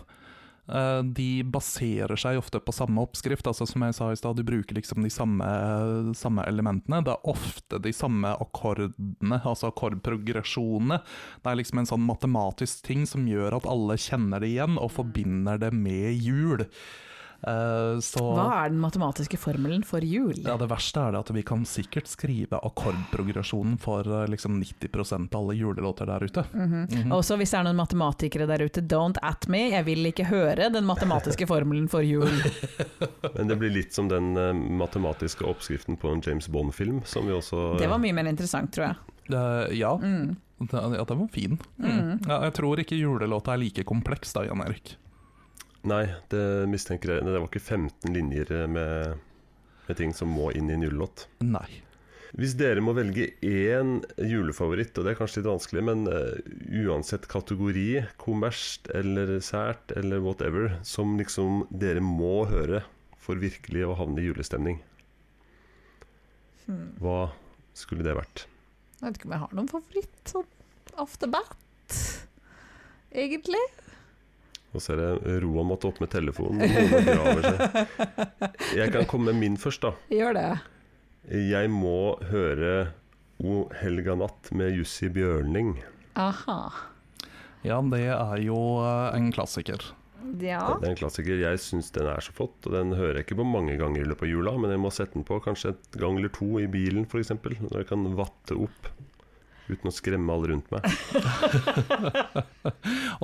Speaker 3: Eh, De baserer seg ofte på samme oppskrift, altså som jeg sa i stad, du bruker liksom de samme, samme elementene. Det er ofte de samme akkordene, altså akkordprogresjonene. Det er liksom en sånn matematisk ting som gjør at alle kjenner det igjen, og forbinder det med jul. Eh, Så
Speaker 2: Hva er den matematiske formelen for jul?
Speaker 3: ja, Det verste er det at vi kan sikkert skrive akkordprogresjonen for eh, liksom 90 av alle julelåter der ute.
Speaker 2: Mhm.
Speaker 3: Mhm.
Speaker 2: Også hvis det er noen matematikere der ute, don't at me, jeg vil ikke høre den matematiske formelen for jul.
Speaker 1: Men det blir litt som den eh, matematiske oppskriften på en James Bond-film, som vi også
Speaker 2: Det var mye mer interessant, tror jeg.
Speaker 3: Eh, ja,
Speaker 2: Mm.
Speaker 3: det- ja, den var fin. Mm.
Speaker 2: Mhm.
Speaker 3: Ja, jeg tror ikke julelåta er like kompleks da, Jan Erik.
Speaker 1: eh, Nei, det mistenker jeg. Det var ikke 15 linjer eh, med, med ting som må inn i en julelåt.
Speaker 3: Nei.
Speaker 1: Hvis dere må velge én julefavoritt, og det er kanskje litt vanskelig, men eh, uansett kategori, kommersielt eller sært eller whatever, som liksom dere må høre for virkelig å havne i julestemning,
Speaker 2: Hmm.
Speaker 1: hva skulle det vært?
Speaker 2: Jeg vet ikke om jeg har noen favoritt sånn off the bat, egentlig.
Speaker 1: Og så er det Roa måtte opp med telefonen. hodet graver seg. Jeg kan komme med min først, da.
Speaker 2: Gjør det.
Speaker 1: Jeg må høre O helga natt med Jussi Bjørning.
Speaker 2: Aha.
Speaker 3: Ja, det er jo eh, en klassiker.
Speaker 2: Ja.
Speaker 1: Det er en klassiker. Jeg syns den er så flott, og den hører jeg ikke på mange ganger i løpet av jula, men jeg må sette den på kanskje et gang eller to i bilen f.eks., når jeg kan vatte opp uten å skremme alle rundt meg.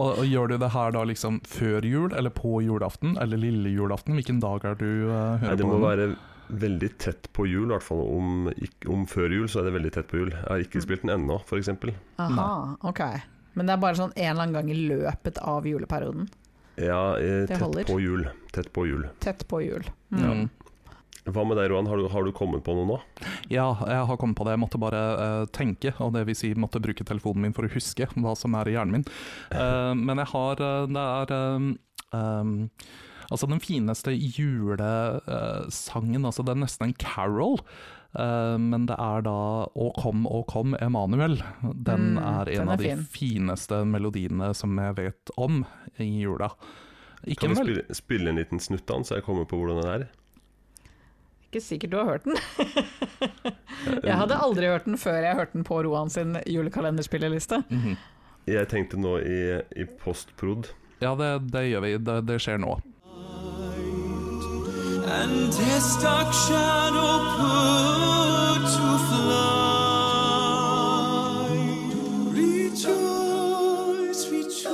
Speaker 3: Og, og Gjør du det her da liksom før jul, eller på julaften, eller lille julaften? Hvilken dag er du eh, hører
Speaker 1: Nei, det
Speaker 3: på?
Speaker 1: må
Speaker 3: den?
Speaker 1: være veldig tett på jul, i hvert fall om, ikk- om før jul, så er det veldig tett på jul. Jeg har ikke spilt den ennå, f.eks.
Speaker 2: Aha, ok. Men det er bare sånn en eller annen gang i løpet av juleperioden.
Speaker 1: Ja, eh,
Speaker 2: Det holder.
Speaker 1: tett på jul. Tett på jul.
Speaker 2: Tett på jul.
Speaker 3: Ja.
Speaker 2: Mm.
Speaker 1: Hva med deg, Roan? Har du, har du kommet på noe nå?
Speaker 3: Ja, jeg har kommet på det. Jeg måtte bare eh, tenke, og det vil si måtte bruke telefonen min for å huske hva som er i hjernen min. Eh, men jeg har eh, Det er eh, em, Altså, den fineste julesangen Altså, det er nesten en carol. eh, men det er da 'Å kom, å kom, Emanuel'. Den
Speaker 2: Mm,
Speaker 3: er en
Speaker 2: den er
Speaker 3: av de
Speaker 2: fin.
Speaker 3: fineste melodiene som jeg vet om i jula. Ikke
Speaker 1: Kan
Speaker 3: en
Speaker 1: vi
Speaker 3: vel...
Speaker 1: spille, spille en liten snutt av den, så jeg kommer på hvordan den er?
Speaker 2: Ikke sikkert du har hørt den.
Speaker 3: Mm.
Speaker 2: Jeg hadde aldri hørt den før jeg hørte den på Roan sin julekalenderspilleliste.
Speaker 3: Mhm.
Speaker 1: Jeg tenkte nå i, i postprod.
Speaker 3: Ja, det, det gjør vi. Det, det skjer nå.
Speaker 4: and his dark shadow put to flight. Rejoice, rejoice,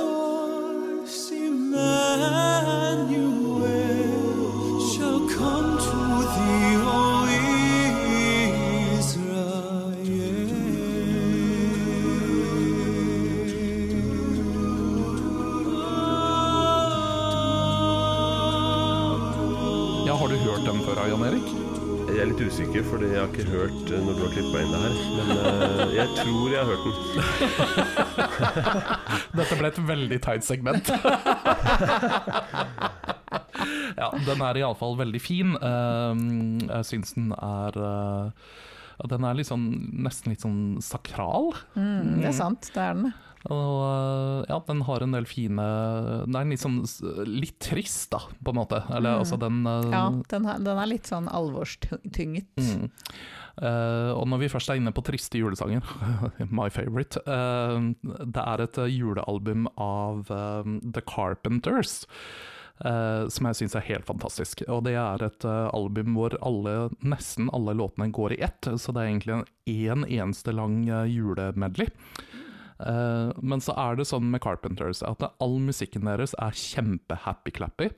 Speaker 4: Emmanuel shall come to thee, O Israel.
Speaker 3: Ja, har du hørt den før, Jan Erik?
Speaker 1: Jeg er litt usikker, fordi jeg har ikke hørt eh, når du har klippa inn det her. Men eh, jeg tror jeg har hørt den.
Speaker 3: Dette ble et veldig teit segment. ja, den er iallfall veldig fin. Ehm, Jeg syns den er eh, ja, Den er litt sånn, nesten litt sånn sakral.
Speaker 2: Mm, det er sant, det er den.
Speaker 3: Og eh, ja, den har en del fine Den er litt sånn s- litt trist, da, på en måte. Eller altså, den eh,
Speaker 2: Ja, den, er- den er litt sånn alvorstynget.
Speaker 3: Mm. Eh, og når vi først er inne på triste julesanger, my favorite eh, Det er et eh, julealbum av eh, The Carpenters. eh, som jeg syns er helt fantastisk. Og det er et eh, album hvor alle, nesten alle låtene går i ett, så det er egentlig en, en eneste lang eh, julemedley. Eh, men så er det sånn med Carpenters at all musikken deres er kjempe-happy-clappy.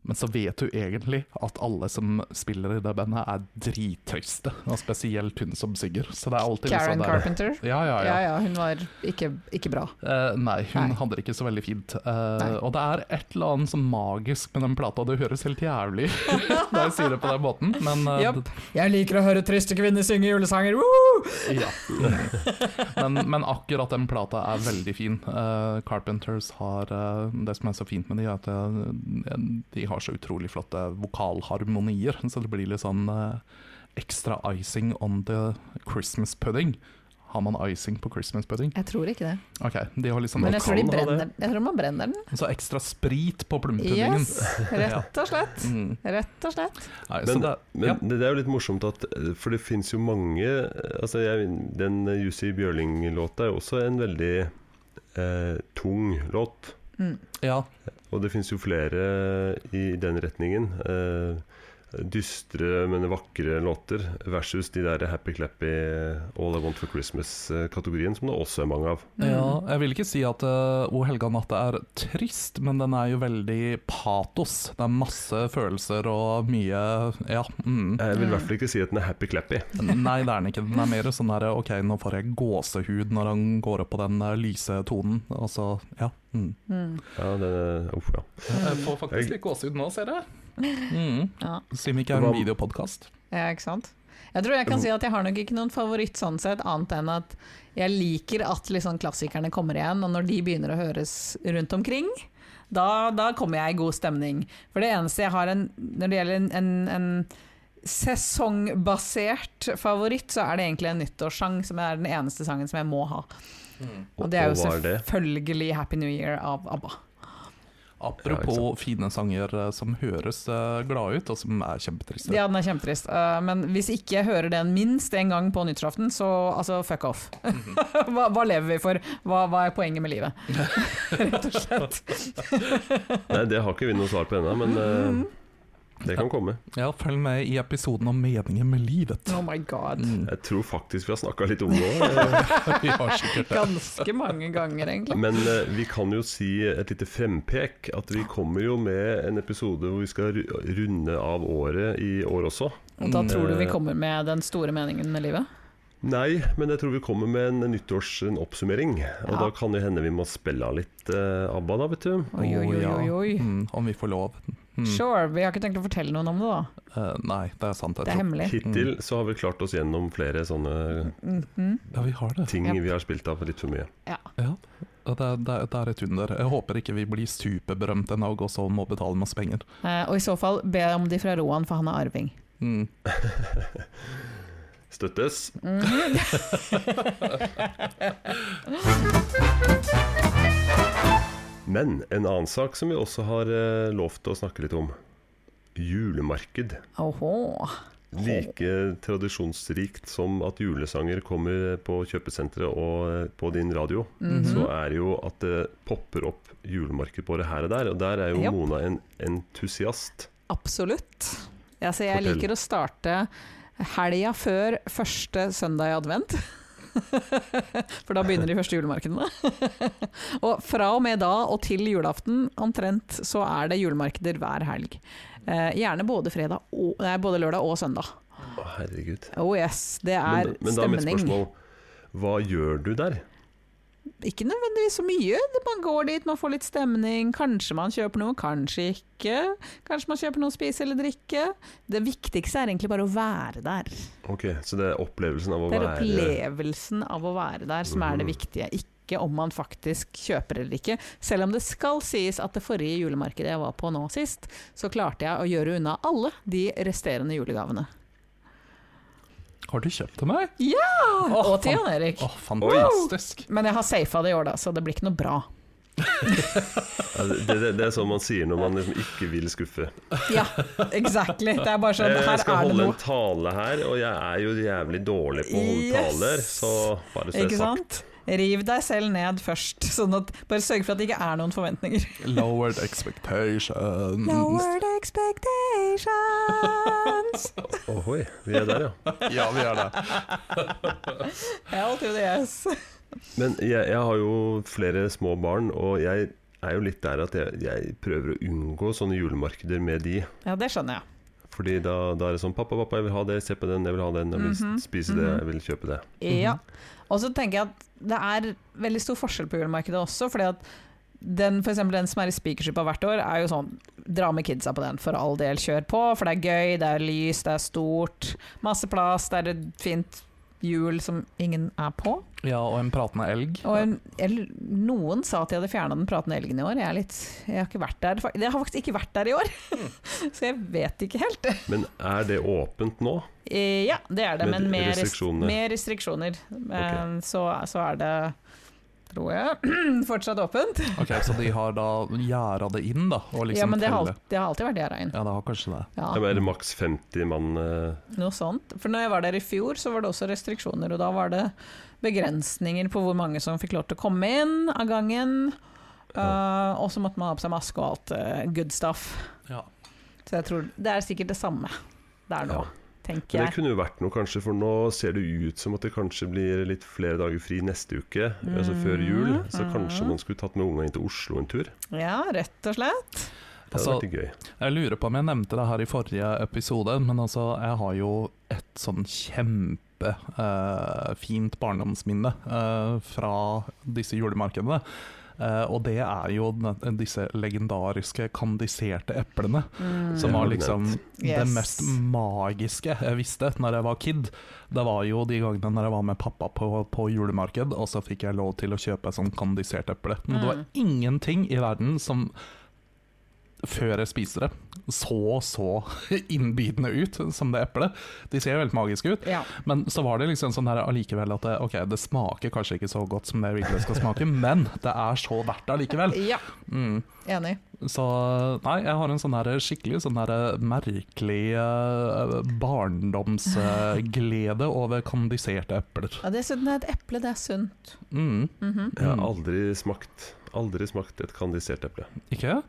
Speaker 3: Men så vet du egentlig at alle som spiller i det bandet er drittriste, og spesielt hun som synger. Så det er alltid litt
Speaker 2: Karen
Speaker 3: sånn der-
Speaker 2: Carpenter.
Speaker 3: Ja, ja, ja.
Speaker 2: Ja ja, hun var ikke, ikke bra.
Speaker 3: Eh, nei, hun
Speaker 2: Nei.
Speaker 3: hadde det ikke så veldig fint. Eh,
Speaker 2: Nei.
Speaker 3: og det er et eller annet sånn magisk med den plata, det høres helt jævlig ut når jeg sier det på den måten, men eh,
Speaker 2: Japp. Jeg liker å høre triste kvinner synge julesanger! Woo!
Speaker 3: d- ja. Mm. men, men akkurat den plata er veldig fin. Eh, Carpenters har eh, Det som er så fint med de, er at eh, de har så utrolig flotte vokalharmonier, så det blir litt sånn eh, ekstra icing on the Christmas pudding. Har man icing på Christmas pudding?
Speaker 2: Jeg tror ikke det.
Speaker 3: Ok, de har litt sånn
Speaker 2: Men jeg tror, de
Speaker 1: kan ha det.
Speaker 2: brenner, jeg tror man brenner den.
Speaker 3: Så ekstra sprit på plommepuddingen.
Speaker 2: Yes, rett og slett.
Speaker 3: Mm.
Speaker 2: Rett og slett.
Speaker 3: Nei, så
Speaker 1: Men,
Speaker 3: det,
Speaker 1: men
Speaker 3: ja.
Speaker 1: det, det er jo litt morsomt at eh, For det fins jo mange eh, Altså, jeg, den eh, Jussi Bjørling-låta er jo også en veldig eh, tung låt.
Speaker 3: ja,
Speaker 1: Og det fins jo flere i den retningen. Eh, dystre, men vakre låter versus de der happy-clappy All I Want for Christmas-kategorien, som det også er mange av.
Speaker 3: ja,
Speaker 2: Mm.
Speaker 3: jeg vil ikke si at eh, O helga natt er trist, men den er jo veldig patos. Det er masse følelser og mye Ja. Mm.
Speaker 1: Jeg vil i hvert fall ikke si at den er happy-clappy.
Speaker 3: Nei, det er den ikke. Den er mer sånn der OK, nå får jeg gåsehud når han går opp på den eh, lyse tonen. Og så, ja. Mm.
Speaker 1: Ja, det, uff, ja.
Speaker 3: Jeg får faktisk litt gåsehud nå, ser jeg. Mm.
Speaker 2: Ja.
Speaker 3: Siden vi ikke er en videopodkast.
Speaker 2: ja, ikke sant. Jeg tror jeg
Speaker 1: Mm.
Speaker 2: kan si at jeg har nok ikke noen favoritt sånn sett, annet enn at jeg liker at liksom klassikerne kommer igjen, og når de begynner å høres rundt omkring, da, da kommer jeg i god stemning. For det eneste jeg har en, når det gjelder en, en, en sesongbasert favoritt, så er det egentlig en nyttårssang som er den eneste sangen som jeg må ha. Og det er jo
Speaker 1: og hva er det?
Speaker 2: selvfølgelig 'Happy New Year' av ABBA.
Speaker 3: Apropos fine sanger eh, som høres eh, glade ut, og som er kjempetriste.
Speaker 2: Ja, den er kjempetrist. Eh, men hvis ikke jeg hører den minst en gang på nyttårsaften, så altså, fuck off. hva, hva lever vi for? Hva, hva er poenget med livet? Rett og slett.
Speaker 1: Nei, det har ikke vi noe svar på ennå, men eh, det kan komme.
Speaker 3: Ja, følg med i episoden om meningen med livet.
Speaker 2: Oh my god.
Speaker 1: Jeg tror faktisk vi har snakka litt om det òg.
Speaker 3: Vi har sikkert det.
Speaker 2: Ganske mange ganger, egentlig.
Speaker 1: Men eh, vi kan jo si et lite frempek at vi kommer jo med en episode hvor vi skal ru- runde av året i år også.
Speaker 2: Og da tror du vi
Speaker 1: Eh,
Speaker 2: kommer med den store meningen med livet?
Speaker 1: Nei, men jeg tror vi kommer med en nyttårs en oppsummering. Og
Speaker 2: Ja.
Speaker 1: da kan det hende vi må spille av litt eh, ABBA, da, vet du.
Speaker 2: Oi, oi, oi,
Speaker 3: ja.
Speaker 2: oi, oi.
Speaker 3: Mm, om vi får lov. Mm.
Speaker 2: Sure, vi har ikke tenkt å fortelle noen om det, da.
Speaker 3: Eh, nei, det er sant. Jeg
Speaker 2: Det er
Speaker 3: tror.
Speaker 2: hemmelig.
Speaker 1: Hittil så har vi klart oss gjennom flere sånne
Speaker 2: Mhm.
Speaker 3: Ja, vi har det.
Speaker 1: ting
Speaker 2: Yep.
Speaker 1: vi har spilt av litt for mye.
Speaker 3: Ja. Ja, Det er, det, er, det er et under. Jeg håper ikke vi blir superberømte en dag og så må betale masse penger.
Speaker 2: Eh, og i så fall be om de fra Roan, for han er arving.
Speaker 3: Mm.
Speaker 1: Støttes. Men en annen sak som vi også har eh, lovt å snakke litt om. Julemarked.
Speaker 2: Oho.
Speaker 1: Like tradisjonsrikt som at julesanger kommer på kjøpesenteret og eh, på din radio,
Speaker 2: Mhm.
Speaker 1: så er det jo at det popper opp julemarked både her og der. Og der er jo
Speaker 2: Japp.
Speaker 1: Mona en entusiast.
Speaker 2: Absolutt. Ja, så jeg
Speaker 1: Fortell.
Speaker 2: liker å starte helga før første søndag i advent. For da begynner de første julemarkedene. og fra og med da og til julaften omtrent så er det julemarkeder hver helg. Eh, gjerne både, fredag og, nei, både lørdag og søndag.
Speaker 1: Å, herregud.
Speaker 2: Oh yes, det er
Speaker 1: Men, men da er mitt
Speaker 2: stemning.
Speaker 1: spørsmål hva gjør du der?
Speaker 2: Ikke nødvendigvis så mye. Man går dit, man får litt stemning. Kanskje man kjøper noe, kanskje ikke. Kanskje man kjøper noe å spise eller drikke. Det viktigste er egentlig bare å være der.
Speaker 1: Ok, Så det er opplevelsen av å
Speaker 2: Det er
Speaker 1: være Mm.
Speaker 2: opplevelsen av å være der som er det viktige. Ikke om man faktisk kjøper eller ikke. Selv om det skal sies at det forrige julemarkedet jeg var på nå sist, så klarte jeg å gjøre unna alle de resterende julegavene.
Speaker 3: Har du kjøpt til meg?
Speaker 2: Og til Jan Erik.
Speaker 3: Å, fantastisk!
Speaker 2: Men jeg har safa det i år, da, så det blir ikke noe bra.
Speaker 1: Ja, det, det, det er sånn man sier når man liksom ikke vil skuffe.
Speaker 2: Ja, exactly. Det er bare sånn,
Speaker 1: Jeg
Speaker 2: her
Speaker 1: skal
Speaker 2: er det
Speaker 1: holde
Speaker 2: noe.
Speaker 1: en tale her, og jeg er jo jævlig dårlig på å holde
Speaker 2: Yes.
Speaker 1: taler. Så bare så det
Speaker 2: Ikke
Speaker 1: er sagt.
Speaker 2: sant? Riv deg selv ned først. Sånn at, bare sørg for at det ikke er noen forventninger.
Speaker 3: Lowered
Speaker 1: Mm.
Speaker 3: expectations.
Speaker 2: expectations.
Speaker 1: Ohoi, vi er der, ja.
Speaker 3: Ja, vi gjør det.
Speaker 2: Hell to the yes.
Speaker 1: Men jeg, jeg har jo flere små barn, og jeg er jo litt der at jeg, jeg prøver å unngå sånne julemarkeder med de.
Speaker 2: Ja, det skjønner jeg.
Speaker 1: Fordi da, da er det sånn 'Pappa, pappa, jeg vil ha det. Se på den. Jeg vil ha den. Jeg vil
Speaker 2: Mhm,
Speaker 1: spise det. Jeg vil kjøpe det.'
Speaker 2: Ja. Og så tenker jeg at det er veldig stor forskjell på julemarkedet også, fordi at den, for eksempel den som er i Spikersuppa hvert år, er jo sånn Dra med kidsa på den, for all del, kjør på. For det er gøy, det er lys, det er stort, masse plass, det er et fint hjul som ingen er på.
Speaker 3: Ja, og en pratende elg.
Speaker 2: Og en, eller, noen sa at de hadde fjerna den pratende elgen i år. Jeg, er litt, jeg har ikke vært der. Jeg har faktisk ikke vært der i år, så jeg vet ikke helt.
Speaker 1: Men er det åpent nå?
Speaker 2: Eh, Ja, det er det,
Speaker 1: Med
Speaker 2: men med
Speaker 1: restriksjoner.
Speaker 2: restriksjoner. Med restriksjoner. Men så, så er det, tror jeg, fortsatt åpent.
Speaker 3: Ok, Så de har da gjerda det inn, da? Og
Speaker 2: ja,
Speaker 3: liksom
Speaker 2: men det har,
Speaker 3: teller.
Speaker 2: alt- det har alltid vært gjerda inn.
Speaker 3: Ja, det har kanskje det.
Speaker 2: Ja,
Speaker 1: Ja, men Er det maks 50 mann? eh,
Speaker 2: noe sånt. For når jeg var der i fjor, så var det også restriksjoner, og da var det begrensninger på hvor mange som fikk lov til å komme inn av gangen. Eh, og så måtte man ha på seg maske og alt eh, good stuff.
Speaker 3: Ja.
Speaker 2: Så jeg tror det er sikkert det samme der nå,
Speaker 1: Ja.
Speaker 2: tenker
Speaker 1: Men det
Speaker 2: jeg.
Speaker 1: kunne jo vært noe, kanskje, for nå ser det ut som at det kanskje blir litt flere dager fri neste uke, altså før jul. Så kanskje man skulle tatt med unga inn til Oslo en tur. Det
Speaker 2: Ja, rett og slett.
Speaker 1: hadde
Speaker 3: Altså,
Speaker 1: vært gøy.
Speaker 3: Jeg lurer på om jeg nevnte det her i forrige episode, men altså, jeg har jo et sånn kjempe eh, fint barndomsminne eh, fra disse julemarkedene. Eh, og det er jo den, disse legendariske kandiserte eplene, som
Speaker 1: Det har
Speaker 3: var
Speaker 1: du
Speaker 3: liksom det
Speaker 2: Mm. Yes.
Speaker 3: mest magiske jeg visste når jeg var kid. Det var jo de gangene når jeg var med pappa på, på julemarked, og så fikk jeg lov til å kjøpe sånn kandisert eple. Men det var
Speaker 2: Mm.
Speaker 3: ingenting i verden som før jeg spiser det, så så innbydende ut som det eplet. De ser veldig magiske ut,
Speaker 2: Ja.
Speaker 3: men så var det liksom sånn her allikevel at det, ok, det smaker kanskje ikke så godt som det jeg vil det skal smake, men det er så verdt det allikevel.
Speaker 2: ja.
Speaker 3: Mm.
Speaker 2: Enig.
Speaker 3: Så nei, jeg har en sånn her skikkelig sånn her merkelig eh, barndomsglede over kandiserte epler.
Speaker 2: Ja, dessuten er et eple det er sunt.
Speaker 3: Mm.
Speaker 2: Mhm.
Speaker 1: Jeg har
Speaker 3: Mm.
Speaker 1: aldri smakt, aldri smakt et kandisert eple.
Speaker 3: Ikke?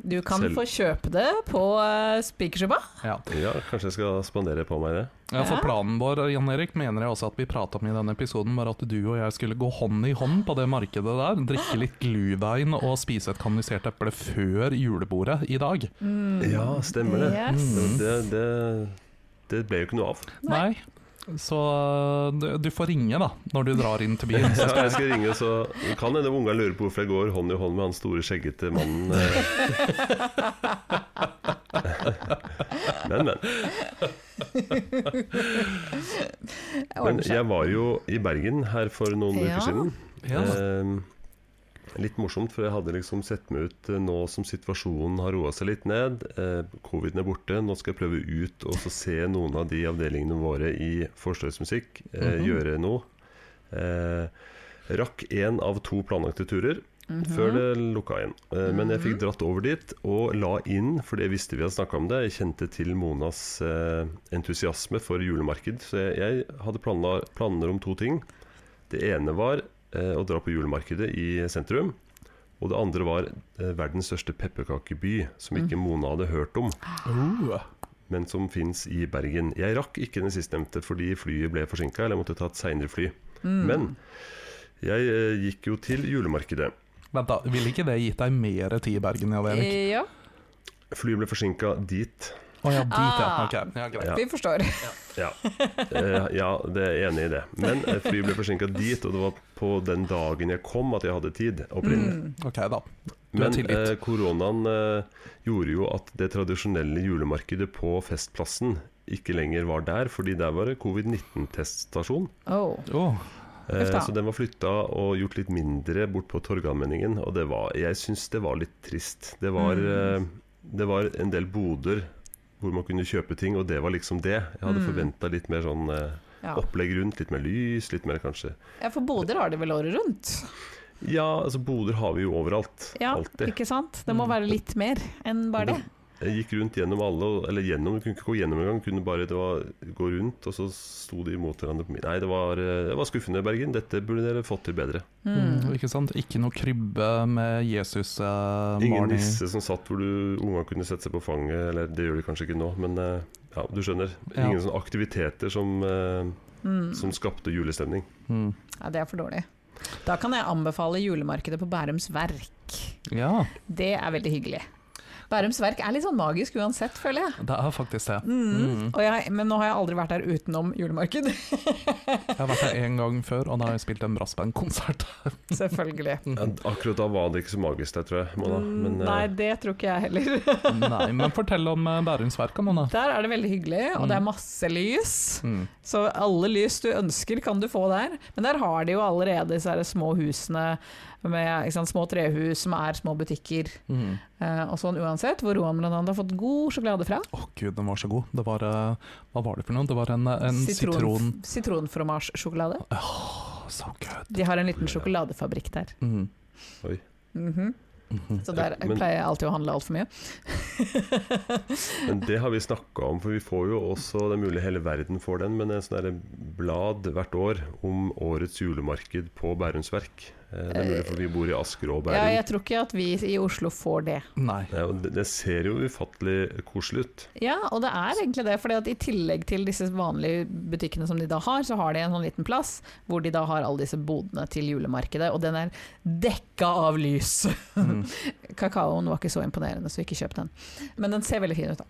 Speaker 2: Du kan
Speaker 1: Selv-
Speaker 2: få kjøpe det på uh, Spikersuppa.
Speaker 3: Ja.
Speaker 1: Ja, kanskje jeg skal spandere på meg det.
Speaker 3: Ja, for
Speaker 2: Ja.
Speaker 3: planen vår, Jan Erik, mener jeg også at vi prata om i denne episoden, var at du og jeg skulle gå hånd i hånd på det markedet der, drikke litt gluvein og spise et kandisert eple før julebordet i dag.
Speaker 1: Ja, stemmer det. Mm.
Speaker 2: Yes.
Speaker 1: Det, det, det det ble jo ikke noe av.
Speaker 3: Nei. Så eh, du, du får ringe, da, når du drar inn til byen.
Speaker 1: Så jeg skal ringe, og så det kan hende unga lurer på hvorfor jeg går hånd i hånd med han store, skjeggete mannen. eh. Men, men.
Speaker 2: Jeg
Speaker 1: Men
Speaker 2: ordner seg.
Speaker 1: jeg var jo i Bergen her for noen
Speaker 2: Ja.
Speaker 1: uker siden.
Speaker 3: Ja.
Speaker 1: Eh, litt morsomt, for jeg hadde liksom sett meg ut eh, nå som situasjonen har roa seg litt ned. Eh, Coviden er borte. Nå skal jeg prøve ut og så se noen av de avdelingene våre i forstøyelsesmusikk eh,
Speaker 3: Mhm.
Speaker 1: gjøre noe. Eh, rakk én av to planlagte turer.
Speaker 3: Mhm.
Speaker 1: Før det lukka igjen. Eh, Men jeg fikk dratt over dit og la inn, for det visste vi hadde snakka om det. Jeg kjente til Monas eh, entusiasme for julemarked, så jeg, jeg hadde planla, planer om to ting. Det ene var eh, å dra på julemarkedet i sentrum. Og det andre var eh, verdens største pepperkakeby, som ikke Mona hadde hørt om,
Speaker 3: Oh.
Speaker 1: men som fins i Bergen. Jeg rakk ikke den sistnevnte fordi flyet ble forsinka, eller jeg måtte ta et seinere fly. Men jeg eh, gikk jo til julemarkedet.
Speaker 3: Vent, da. Ville ikke det gitt deg mer tid i Bergen? Ja, Erik?
Speaker 2: Eh, Ja,
Speaker 1: Flyet ble forsinka dit.
Speaker 3: Å ja, dit, ja.
Speaker 2: Ah.
Speaker 3: Ok, ja, greit.
Speaker 1: Ja.
Speaker 2: vi forstår.
Speaker 1: Ja, Eh, ja det er jeg enig i det. Men eh, flyet ble forsinka dit, og det var på den dagen jeg kom at jeg hadde tid. opprinnelig.
Speaker 2: Mm.
Speaker 3: Ok, da. Du er
Speaker 1: Men
Speaker 3: tilgitt.
Speaker 1: eh, koronaen eh, gjorde jo at det tradisjonelle julemarkedet på Festplassen ikke lenger var der, fordi der var det covid-19-teststasjon.
Speaker 2: Oh.
Speaker 3: Oh.
Speaker 1: Eh,
Speaker 2: Uff da.
Speaker 1: så den var flytta og gjort litt mindre bort på Torgallmenningen. Og det var, jeg syns det var litt trist. Det var,
Speaker 2: Mm.
Speaker 1: eh, det var en del boder hvor man kunne kjøpe ting, og det var liksom det. Jeg hadde forventa litt mer sånn eh,
Speaker 2: Mm. Ja.
Speaker 1: opplegg rundt, litt mer lys, litt mer kanskje
Speaker 2: ja, for boder har de vel året rundt?
Speaker 1: Ja, altså boder har vi jo overalt.
Speaker 2: Ja,
Speaker 1: alltid.
Speaker 2: ikke sant? Det må være litt mer enn bare det.
Speaker 1: Jeg gikk rundt gjennom alle, og- eller gjennom, jeg kunne ikke gå gjennom engang. Kunne bare det var, gå rundt, og så sto de imot hverandre på midten. Nei, det var, eh, det var skuffende, Bergen. Dette burde dere fått til bedre.
Speaker 3: Mm, ikke sant? Ikke noe krybbe med Jesus uh,
Speaker 1: Ingen nisse som satt hvor du unga kunne sette seg på fanget, eller det gjør de kanskje ikke nå, men eh, ja, du skjønner.
Speaker 3: Ja.
Speaker 1: Ingen sånne aktiviteter som, eh, som skapte julestemning.
Speaker 3: Mm.
Speaker 2: Ja, det er for dårlig. Da kan jeg anbefale julemarkedet på Bærums Verk.
Speaker 3: Ja,
Speaker 2: Det er veldig hyggelig. Bærums Verk er litt sånn magisk uansett, føler jeg.
Speaker 3: det er faktisk det.
Speaker 2: Mm. Og jeg. Men nå har jeg aldri vært der utenom julemarked.
Speaker 3: Jeg har vært her én gang før, og da har jeg spilt en brassbandkonsert.
Speaker 2: Selvfølgelig.
Speaker 1: Ja, akkurat da var det ikke så magisk der, tror jeg. Mona. Men, eh,
Speaker 2: Mm, Nei, det tror ikke jeg heller.
Speaker 3: Nei, men fortell om eh, Bærums Verk, Amanda.
Speaker 2: Der er det veldig hyggelig, og det er masse lys.
Speaker 3: Mm.
Speaker 2: Så alle lys du ønsker kan du få der. Men der har de jo allerede disse her små husene med ikke sant, små trehus som er små butikker.
Speaker 3: Mm.
Speaker 2: Eh, og sånn uansett, hvor Roan blant annet har fått god sjokolade fra.
Speaker 3: Å gud, den var så god. Det var eh, Hva var det for noe? Det var en, eh, en sitron.
Speaker 2: Sitronfromasjesjokolade.
Speaker 3: Så good.
Speaker 2: De har en liten sjokoladefabrikk der.
Speaker 3: Mm.
Speaker 1: Oi.
Speaker 2: Mhm. Så der
Speaker 1: Men-
Speaker 2: pleier jeg alltid å handle altfor mye.
Speaker 1: Men det har vi snakka om, for vi får jo også Det er mulig hele verden får den, men en sånn der blad hvert år om årets julemarked på Bærums Verk. Eh, Det er mulig, for vi bor i Asker og
Speaker 2: Ja,
Speaker 1: Bærum.
Speaker 2: jeg tror ikke at vi i Oslo får det.
Speaker 3: Nei.
Speaker 1: Ja, og det- det ser jo ufattelig koselig ut.
Speaker 2: Ja, og det er egentlig det. For i tillegg til disse vanlige butikkene som de da har, så har de en sånn liten plass hvor de da har alle disse bodene til julemarkedet, og den er dekka av lys. Kakaoen var ikke så imponerende, så ikke kjøp den. Men den ser veldig fin ut, da.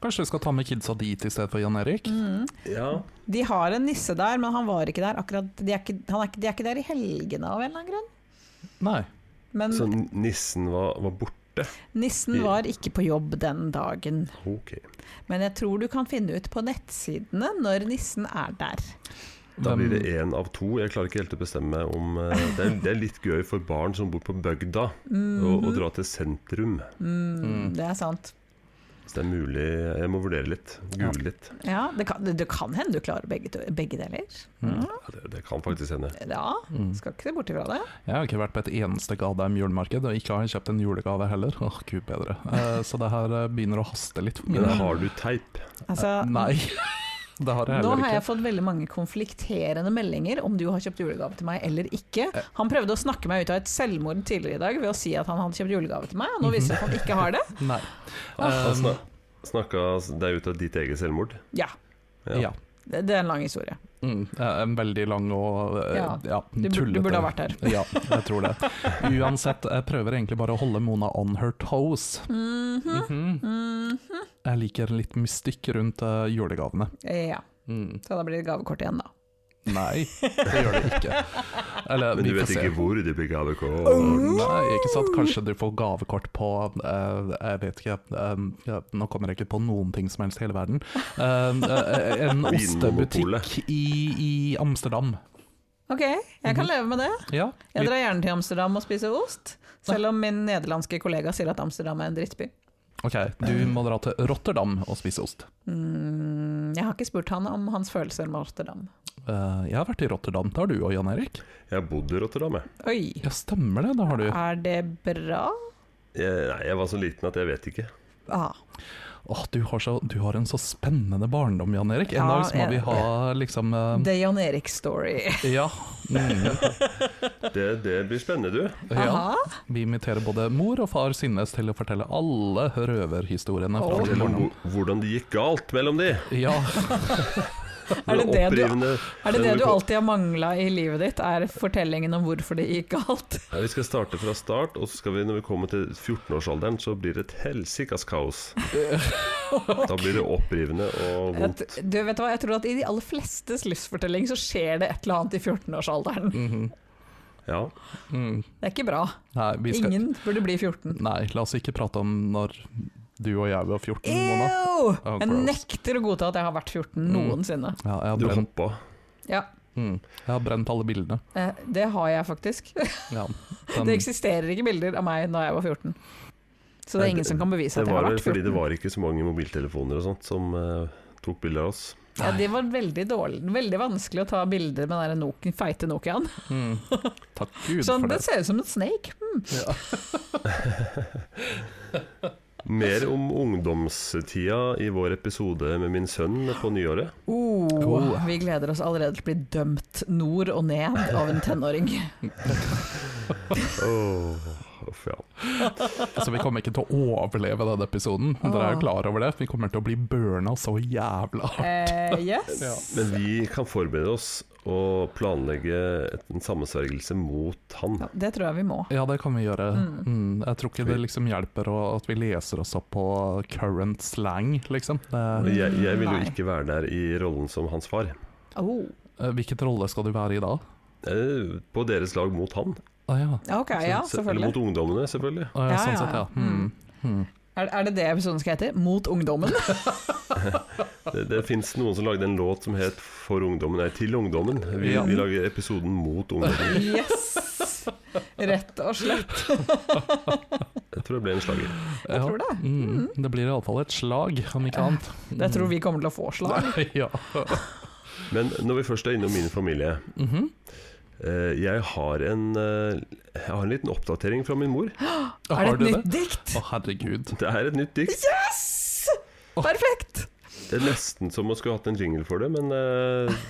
Speaker 3: Kanskje du skal ta med kidsa dit i stedet for Jan Erik?
Speaker 2: Mm.
Speaker 1: Ja,
Speaker 2: De har en nisse der, men han var ikke der akkurat De er ikke, han er ikke, de er ikke der i helgene av en eller annen grunn.
Speaker 3: Nei.
Speaker 2: Men
Speaker 1: Så nissen var, var borte.
Speaker 2: nissen var ikke på jobb den dagen.
Speaker 1: Ok.
Speaker 2: Men jeg tror du kan finne ut på nettsidene når nissen er der.
Speaker 1: Da blir det
Speaker 3: Hvem-
Speaker 1: én av to. Jeg klarer ikke helt å bestemme meg om eh, det er, det er litt gøy for barn som bor på bygda, å
Speaker 2: Mhm.
Speaker 1: å dra til sentrum.
Speaker 2: Mm, det er sant.
Speaker 1: Så det er mulig Jeg må vurdere litt. Google litt.
Speaker 2: Ja, det kan, det kan hende du klarer begge, to- begge deler.
Speaker 3: Mm.
Speaker 1: Ja, det, det kan faktisk hende.
Speaker 2: Ja, skal ikke se bort ifra det.
Speaker 3: Jeg har ikke vært på et eneste Gadheim julemarked, og ikke har jeg kjøpt en julegave heller. Åh, gud bedre. Eh, så det her eh, begynner å haste litt for min
Speaker 1: Men
Speaker 3: del.
Speaker 1: har du teip?
Speaker 2: Altså,
Speaker 3: Eh, Nei, det har jeg
Speaker 2: nå
Speaker 3: heller
Speaker 2: har jeg
Speaker 3: ikke.
Speaker 2: fått veldig mange konflikterende meldinger om du har kjøpt julegave til meg eller ikke.
Speaker 3: Eh.
Speaker 2: Han prøvde å snakke meg ut av et selvmord tidligere i dag ved å si at han hadde kjøpt julegave til meg,
Speaker 3: Mhm.
Speaker 2: og nå viser det seg at han ikke har det.
Speaker 3: Nei.
Speaker 1: Da
Speaker 3: Um,
Speaker 1: sna- Snakka deg ut av ditt eget selvmord?
Speaker 2: Ja,
Speaker 3: ja.
Speaker 2: det, det er en lang historie.
Speaker 3: Mm, eh, en veldig lang og eh,
Speaker 2: Ja,
Speaker 3: ja,
Speaker 2: Du, bur-
Speaker 3: tullete
Speaker 2: du burde ha vært der.
Speaker 3: Ja, jeg tror det.
Speaker 1: Mhm.
Speaker 3: Uansett, jeg prøver egentlig bare å holde Mona on her toes. Mhm. Jeg liker litt mystikk rundt eh, julegavene.
Speaker 2: Ja,
Speaker 5: Mm.
Speaker 2: så da blir det gavekort igjen, da.
Speaker 3: Nei, det gjør det ikke. Eller,
Speaker 1: Men du
Speaker 3: vi
Speaker 1: vet
Speaker 3: får se.
Speaker 1: ikke hvor de blir gavekort.
Speaker 2: Mm.
Speaker 3: Nei, ikke sant. Kanskje du får gavekort på eh, Jeg vet ikke. eh, ja, nå kommer jeg ikke på noen ting som helst i hele verden. Eh, eh, en
Speaker 1: Vinmonopolet.
Speaker 3: ostebutikk i, i Amsterdam.
Speaker 2: Ok, jeg
Speaker 3: Mhm.
Speaker 2: kan leve med det.
Speaker 3: Ja,
Speaker 2: Jeg drar gjerne til Amsterdam og spiser ost, selv om min nederlandske kollega sier at Amsterdam er en drittby.
Speaker 3: Ok, du må dra til Rotterdam og spise ost.
Speaker 2: Mm, jeg har ikke spurt han om hans følelser med Amsterdam.
Speaker 3: Eh, jeg har vært i Rotterdam, det har du òg, Jan Erik?
Speaker 1: Jeg bodde i Rotterdam, jeg.
Speaker 2: Oi,
Speaker 3: Ja, stemmer det, det har du.
Speaker 2: er det bra?
Speaker 1: jeg. Nei, jeg var så liten at jeg vet ikke.
Speaker 2: Ah,
Speaker 3: Åh, du, har så, du har en så spennende barndom, Jan Erik. En
Speaker 2: Ja,
Speaker 3: dag så må
Speaker 2: jeg-
Speaker 3: vi ha liksom eh,
Speaker 2: det er Jan Erik-story.
Speaker 3: Ja. Mm,
Speaker 1: Det, det blir spennende, du.
Speaker 3: ja. Vi inviterer både mor og far Sinnes til å fortelle alle røverhistoriene fra
Speaker 2: Åh.
Speaker 3: sin
Speaker 1: Fortell om
Speaker 3: barndom.
Speaker 1: hvor- hvordan det gikk galt mellom de.
Speaker 3: Ja,
Speaker 2: Er det det du,
Speaker 1: Opprivende-
Speaker 2: er det, det
Speaker 1: den-
Speaker 2: du alltid har mangla i livet ditt, er fortellingen om hvorfor det gikk galt?
Speaker 1: Ja, vi skal starte fra start, og så skal vi, når vi kommer til 14-årsalderen, så blir det et helsikas kaos. Da blir det opprivende og
Speaker 2: Jeg,
Speaker 1: vondt.
Speaker 2: t- du vet hva, jeg tror at i de aller flestes livsfortelling så skjer det et eller annet i 14-årsalderen.
Speaker 1: Ja.
Speaker 3: mm.
Speaker 2: Det er ikke bra.
Speaker 3: mhm, Nei, vi skal,
Speaker 2: Ingen burde bli 14.
Speaker 3: nei, la oss ikke prate om når du og jeg var 14, Mona.
Speaker 2: Ew!
Speaker 3: Oh,
Speaker 2: Jeg
Speaker 3: gross.
Speaker 2: nekter å godta at jeg har vært 14
Speaker 3: Mm.
Speaker 2: noensinne.
Speaker 3: Ja, jeg, har
Speaker 1: Du
Speaker 3: brent,
Speaker 1: hoppa.
Speaker 2: Ja,
Speaker 3: mm, jeg har brent alle bildene.
Speaker 2: eh, det har jeg faktisk.
Speaker 3: Ja, Sånn.
Speaker 2: Det eksisterer ikke bilder av meg da jeg var 14. Så det
Speaker 1: Nei,
Speaker 2: er ingen som kan bevise
Speaker 1: Det
Speaker 2: at jeg
Speaker 1: var
Speaker 2: har
Speaker 1: vel
Speaker 2: vært
Speaker 1: fordi
Speaker 2: 14.
Speaker 1: det var ikke så mange mobiltelefoner og sånt som eh, tok bilder av oss.
Speaker 2: Ja, det var veldig dårlig. Veldig vanskelig å ta bilder med den der Nokia- feite Nokiaen.
Speaker 3: Mm. Takk Gud
Speaker 2: Sånn,
Speaker 3: for det.
Speaker 2: det ser ut som en snake.
Speaker 1: Mer om ungdomstida i vår episode med min sønn på nyåret.
Speaker 2: Oh,
Speaker 3: Oh.
Speaker 2: Vi gleder oss allerede til å bli dømt nord og ned av en tenåring.
Speaker 1: Åh, uff, ja.
Speaker 3: Så Altså, vi kommer ikke til å overleve denne episoden.
Speaker 2: Ah.
Speaker 3: Dere er jo klar over det. Vi kommer til å bli burna så jævla hardt.
Speaker 2: Eh, yes.
Speaker 1: Men vi kan forberede oss og planlegge et- en sammensvergelse mot han.
Speaker 2: Ja, det tror jeg vi må.
Speaker 3: Ja, det kan vi gjøre.
Speaker 2: Mm.
Speaker 3: Mm, jeg tror ikke det liksom hjelper å, at vi leser oss opp på current slang, liksom.
Speaker 1: Og
Speaker 3: Det,
Speaker 1: Jeg, jeg vil jo
Speaker 2: Nei.
Speaker 1: ikke være der i rollen som hans far.
Speaker 2: Oh.
Speaker 3: Eh, hvilket rolle skal du være i da?
Speaker 1: Eh, På deres lag mot han.
Speaker 3: Ah, ja.
Speaker 2: Ok, ja,
Speaker 1: Altså, Så- Eller
Speaker 2: selvfølgelig.
Speaker 1: mot ungdommene, selvfølgelig.
Speaker 3: Ah, ja,
Speaker 2: Ja,
Speaker 3: sånn
Speaker 2: ja,
Speaker 3: sett,
Speaker 2: ja.
Speaker 3: ja. Mm. Mm.
Speaker 2: Er, er det det episoden skal hete? Mot ungdommen?
Speaker 1: Det, det fins noen som lagde en låt som het 'For ungdommen', nei, 'Til ungdommen'. Vi,
Speaker 3: Ja.
Speaker 1: vi lager episoden mot ungdommen.
Speaker 2: Yes! Rett og slett.
Speaker 1: Jeg tror det ble en slager.
Speaker 3: Jeg
Speaker 2: tror det.
Speaker 3: Mm. Det blir iallfall et slag, om ikke annet.
Speaker 2: Jeg tror vi kommer til å få slag.
Speaker 3: ja.
Speaker 1: Men når vi først er innom min familie
Speaker 3: Mhm.
Speaker 1: eh, Jeg har en, eh, jeg har en liten oppdatering fra min mor.
Speaker 2: Er det
Speaker 3: Har
Speaker 2: et
Speaker 3: du det?
Speaker 2: nytt dikt?
Speaker 3: Å, herregud.
Speaker 1: Det er et nytt dikt.
Speaker 2: Yes! Perfekt!
Speaker 1: Det er nesten som om jeg skulle hatt en jingle for det, men eh,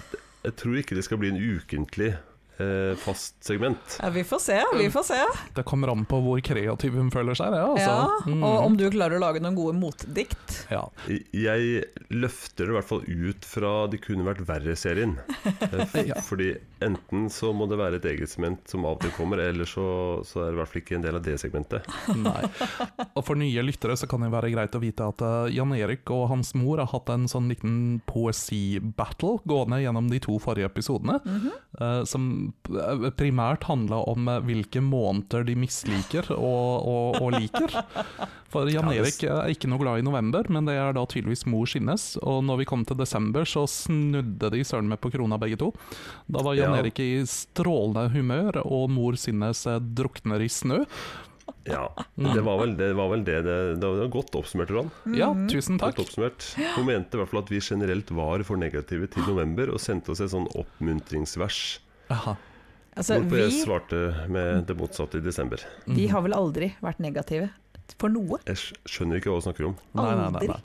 Speaker 1: jeg tror ikke det skal bli en ukentlig eh, fast segment.
Speaker 2: Ja, vi får se, vi får se.
Speaker 3: Det kommer an på hvor kreativ hun føler seg, det, altså.
Speaker 2: Ja,
Speaker 3: Mm.
Speaker 2: og om du klarer å lage noen gode motdikt.
Speaker 3: ja.
Speaker 1: Jeg løfter det i hvert fall ut fra De kunne vært verre-serien. Eh, f-
Speaker 3: Ja.
Speaker 1: Fordi enten så må det være et eget segment som av og til kommer, eller så, så er det i hvert fall ikke en del av det segmentet.
Speaker 3: Nei. Og for nye lyttere så kan det være greit å vite at eh, Jan Erik og hans mor har hatt en sånn liten poesi-battle gående gjennom de to forrige episodene,
Speaker 1: Mhm.
Speaker 3: eh, som eh, primært handla om eh, hvilke måneder de misliker og, og, og liker. For Jan
Speaker 1: Ja,
Speaker 3: Erik
Speaker 1: det-
Speaker 3: er ikke noe glad i november, men det er da tydeligvis mor Skinnes. Og når vi kom til desember, så snudde de søren meg på krona begge to. Da var Jan
Speaker 1: Ja.
Speaker 3: Erik i strålende humør, og mor Sinnes eh, drukner i snø.
Speaker 1: Ja,
Speaker 3: Mm.
Speaker 1: det var vel det. Var vel det, det, det var godt oppsummert, Ron.
Speaker 3: Ja,
Speaker 2: Mhm.
Speaker 3: tusen
Speaker 1: Godt
Speaker 3: takk.
Speaker 1: oppsummert. Hun mente i hvert fall at vi generelt var for negative til november, og sendte oss et sånn oppmuntringsvers.
Speaker 3: Aha.
Speaker 2: Altså,
Speaker 1: Hvorpå jeg
Speaker 2: vi,
Speaker 1: svarte med det motsatte i desember.
Speaker 2: vi har vel aldri vært negative for noe?
Speaker 1: Jeg sk- skjønner ikke hva hun snakker om.
Speaker 3: Nei, nei, nei,
Speaker 2: Aldri.
Speaker 3: nei.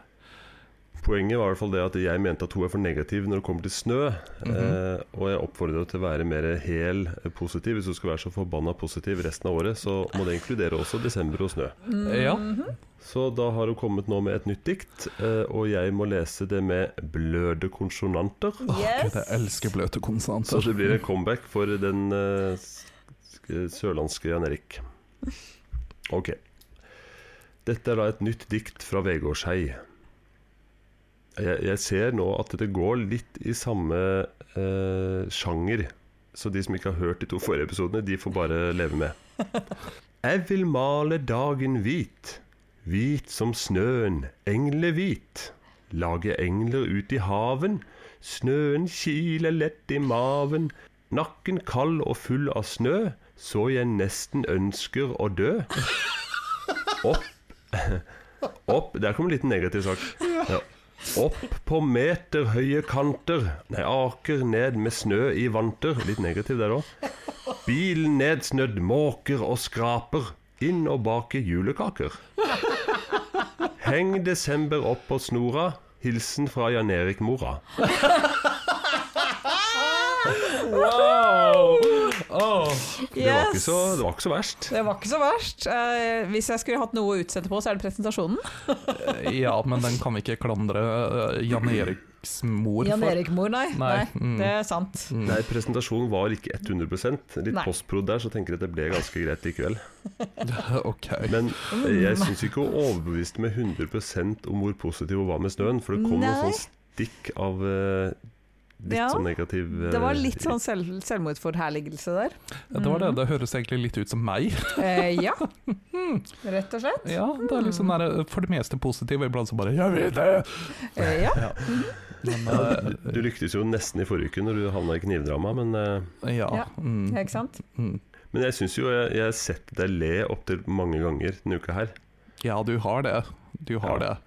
Speaker 1: Poenget var i hvert fall det at jeg mente at hun er for negativ når det kommer til snø. eh, og jeg oppfordrer henne til å være mer hel eh, positiv. Hvis hun skal være så forbanna positiv resten av året, så må det inkludere også desember og snø.
Speaker 3: Ja.
Speaker 2: Mhm.
Speaker 1: Så da har hun kommet nå med et nytt dikt, eh, og jeg må lese det med bløde konsonanter.
Speaker 3: Gud, jeg elsker bløte
Speaker 1: Så
Speaker 3: konsonanter.
Speaker 1: det blir en comeback for den eh, sk- sørlandske Jan Erik. Ok. Dette er da et nytt dikt fra Vegårshei. jeg, jeg ser nå at det går litt i samme eh, sjanger. Så de som ikke har hørt de to forrige episodene, de får bare leve med. Jeg vil male dagen hvit, hvit som snøen, englehvit. Lage engler ut i haven, snøen kiler lett i maven. Nakken kald og full av snø, så jeg nesten ønsker å dø. Opp opp Der kom en liten negativ sak. Ja. Opp på meterhøye kanter. Nei, aker ned med snø i vanter. Litt negativ der òg. Bilen nedsnødd, måker og skraper. Inn og bake julekaker. Heng desember opp på snora. Hilsen fra Jan Erik Mora.
Speaker 3: Wow!
Speaker 1: Det var ikke så, det var ikke så verst.
Speaker 2: Det var ikke så verst. Eh, hvis jeg skulle hatt noe å utsette på, så er det presentasjonen.
Speaker 3: Ja, men den kan vi ikke klandre eh, Jan Eriks mor
Speaker 2: Jan
Speaker 3: for.
Speaker 2: Erik Mor, nei.
Speaker 3: Nei,
Speaker 2: nei.
Speaker 3: mm.
Speaker 2: Det er sant.
Speaker 1: Nei, presentasjonen var ikke 100 Litt
Speaker 2: Nei.
Speaker 1: postprod der, så tenker jeg at det ble ganske greit likevel.
Speaker 3: Ok.
Speaker 1: Men
Speaker 2: Mm.
Speaker 1: jeg syns ikke hun overbeviste med 100 om hvor positiv hun var med snøen. For det kom
Speaker 2: Nei.
Speaker 1: noen sånn stikk av eh, litt
Speaker 2: Ja,
Speaker 1: sånn negativ eh,
Speaker 2: Det var litt sånn selv, selvmordsforherligelse der.
Speaker 3: Det var det. Det høres egentlig litt ut som meg.
Speaker 2: Eh, ja. Rett og slett.
Speaker 3: Ja, det er litt sånn der, eh, for det meste positiv, iblant så bare 'jeg vil det'.
Speaker 2: Eh, ja.
Speaker 3: Men, eh,
Speaker 1: Du, du lyktes jo nesten i forrige uke når du havna i knivdrama, men, eh,
Speaker 3: eh, ja.
Speaker 2: Ja.
Speaker 3: mm,
Speaker 2: Ikke sant?
Speaker 3: mm.
Speaker 1: men jeg syns jo jeg, jeg har sett deg le opptil mange ganger denne uka her.
Speaker 3: ja, du har det. Du har
Speaker 1: Ja.
Speaker 3: det.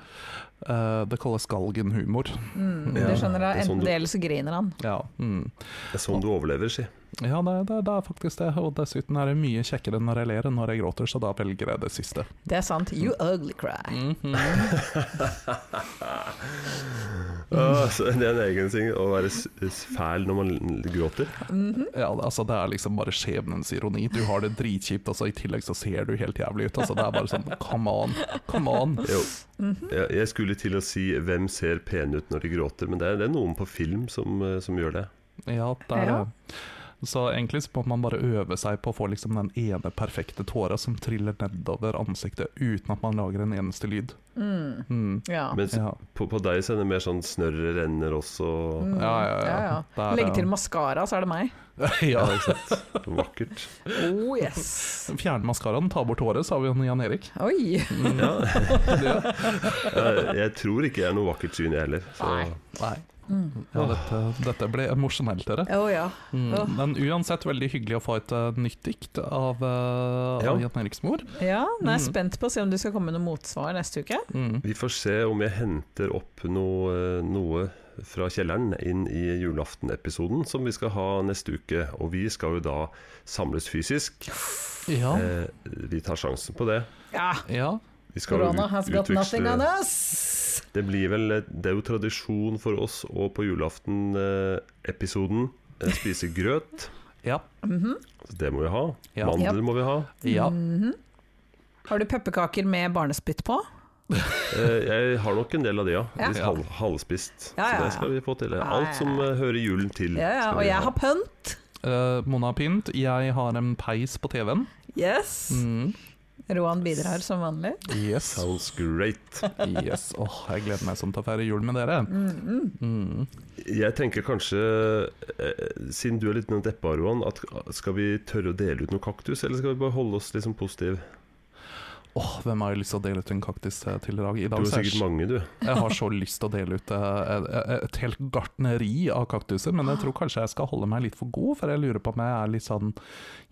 Speaker 3: Eh, det kalles galgenhumor.
Speaker 2: Mm,
Speaker 1: Ja,
Speaker 2: det skjønner
Speaker 1: det er
Speaker 2: jeg.
Speaker 1: sånn
Speaker 2: Enten
Speaker 1: du-
Speaker 2: det, eller så griner han.
Speaker 3: Ja, mm.
Speaker 1: Det er sånn du overlever, si.
Speaker 3: ja det, det, det er faktisk det. Og dessuten er det mye kjekkere når jeg ler enn når jeg gråter, så da velger jeg det siste.
Speaker 2: Det er sant. You ugly cry.
Speaker 1: Ah, så det er en egen ting å være s- s- fæl når man l- gråter.
Speaker 3: Ja, altså Det er liksom bare skjebnens ironi. Du har det dritkjipt, og så i tillegg så ser du helt jævlig ut. Altså Det er bare sånn come on, come on.
Speaker 1: Jo. Jeg, jeg skulle til å si 'hvem ser pene ut når de gråter', men det er, det er noen på film som, eh, som gjør det.
Speaker 3: Ja, det er
Speaker 2: Ja.
Speaker 3: Så egentlig så må man bare øve seg på å få liksom den ene perfekte tåra som triller nedover ansiktet uten at man lager en eneste lyd.
Speaker 2: Mm,
Speaker 3: Mm.
Speaker 2: ja.
Speaker 1: Mens
Speaker 3: Ja.
Speaker 1: På, på deg så er det mer sånn snørret renner også.
Speaker 2: Mm,
Speaker 3: Ja, ja, ja. Det er,
Speaker 2: Legg til
Speaker 3: eh,
Speaker 2: maskara, så er det meg.
Speaker 1: Ja,
Speaker 3: ja.
Speaker 1: ikke sant? Vakkert.
Speaker 2: Oh yes.
Speaker 3: Fjern maskaraen, ta bort håret, sa vi om Jan Erik.
Speaker 2: Oi.
Speaker 1: Ja. Jeg tror ikke jeg er noe vakkert syn, jeg heller. Så.
Speaker 2: Nei.
Speaker 3: Nei. Ja, dette, dette ble emosjonelt, dere.
Speaker 2: Å Mm. Oh, ja. Åh.
Speaker 3: Mm. Men uansett veldig hyggelig å få et eh, nytt dikt av, eh,
Speaker 1: Ja.
Speaker 3: av Jan Eriks mor.
Speaker 2: Ja, nå er jeg
Speaker 3: Mm.
Speaker 2: spent på å se om du skal komme med noe motsvar neste uke.
Speaker 3: Mm.
Speaker 1: Vi får se om jeg henter opp noe, noe fra kjelleren inn i julaftenepisoden som vi skal ha neste uke. Og vi skal jo da samles fysisk.
Speaker 3: Ja.
Speaker 1: Eh, vi tar sjansen på det.
Speaker 2: Ja,
Speaker 3: ja.
Speaker 1: Vi skal jo
Speaker 2: Corona
Speaker 1: ut-
Speaker 2: has got nothing on us.
Speaker 1: Det blir vel eh, Det er jo tradisjon for oss å på julaftenepisoden eh, spise grøt.
Speaker 3: Ja.
Speaker 1: Så det må vi ha.
Speaker 3: Ja.
Speaker 1: Mandel må vi ha.
Speaker 3: ja.
Speaker 2: Mm. Har du pepperkaker med barnespytt på?
Speaker 1: Eh, Jeg har nok en del av det, ja.
Speaker 2: Ja.
Speaker 1: Litt halv, halvspist.
Speaker 2: Ja, ja,
Speaker 1: Så
Speaker 2: ja.
Speaker 1: det skal vi få til.
Speaker 2: ja, ja.
Speaker 1: Alt som eh, hører julen til.
Speaker 2: Ja, ja.
Speaker 1: skal
Speaker 2: Og
Speaker 1: vi
Speaker 2: jeg
Speaker 1: ha.
Speaker 2: har pønt.
Speaker 3: Eh, Mona har pynt, jeg har en peis på TV-en.
Speaker 2: Yes.
Speaker 3: Mm.
Speaker 2: Roan bidrar som vanlig.
Speaker 3: Yes.
Speaker 1: Sounds great.
Speaker 3: yes. Åh, jeg gleder meg sånn til å feire jul med dere. Mm.
Speaker 1: Jeg tenker kanskje, eh, siden du er litt deppa, Roan, at eh, skal vi tørre å dele ut noe kaktus, eller skal vi bare holde oss liksom positive?
Speaker 3: Åh, hvem har lyst til å dele ut en kaktus eh, til i dag? I
Speaker 1: Du
Speaker 3: dag
Speaker 1: har
Speaker 3: så er
Speaker 1: sikkert mange, du.
Speaker 3: Jeg har så lyst til å dele ut eh, et, et helt gartneri av kaktuser, men jeg tror kanskje jeg skal holde meg litt for god, for jeg lurer på om jeg er litt sånn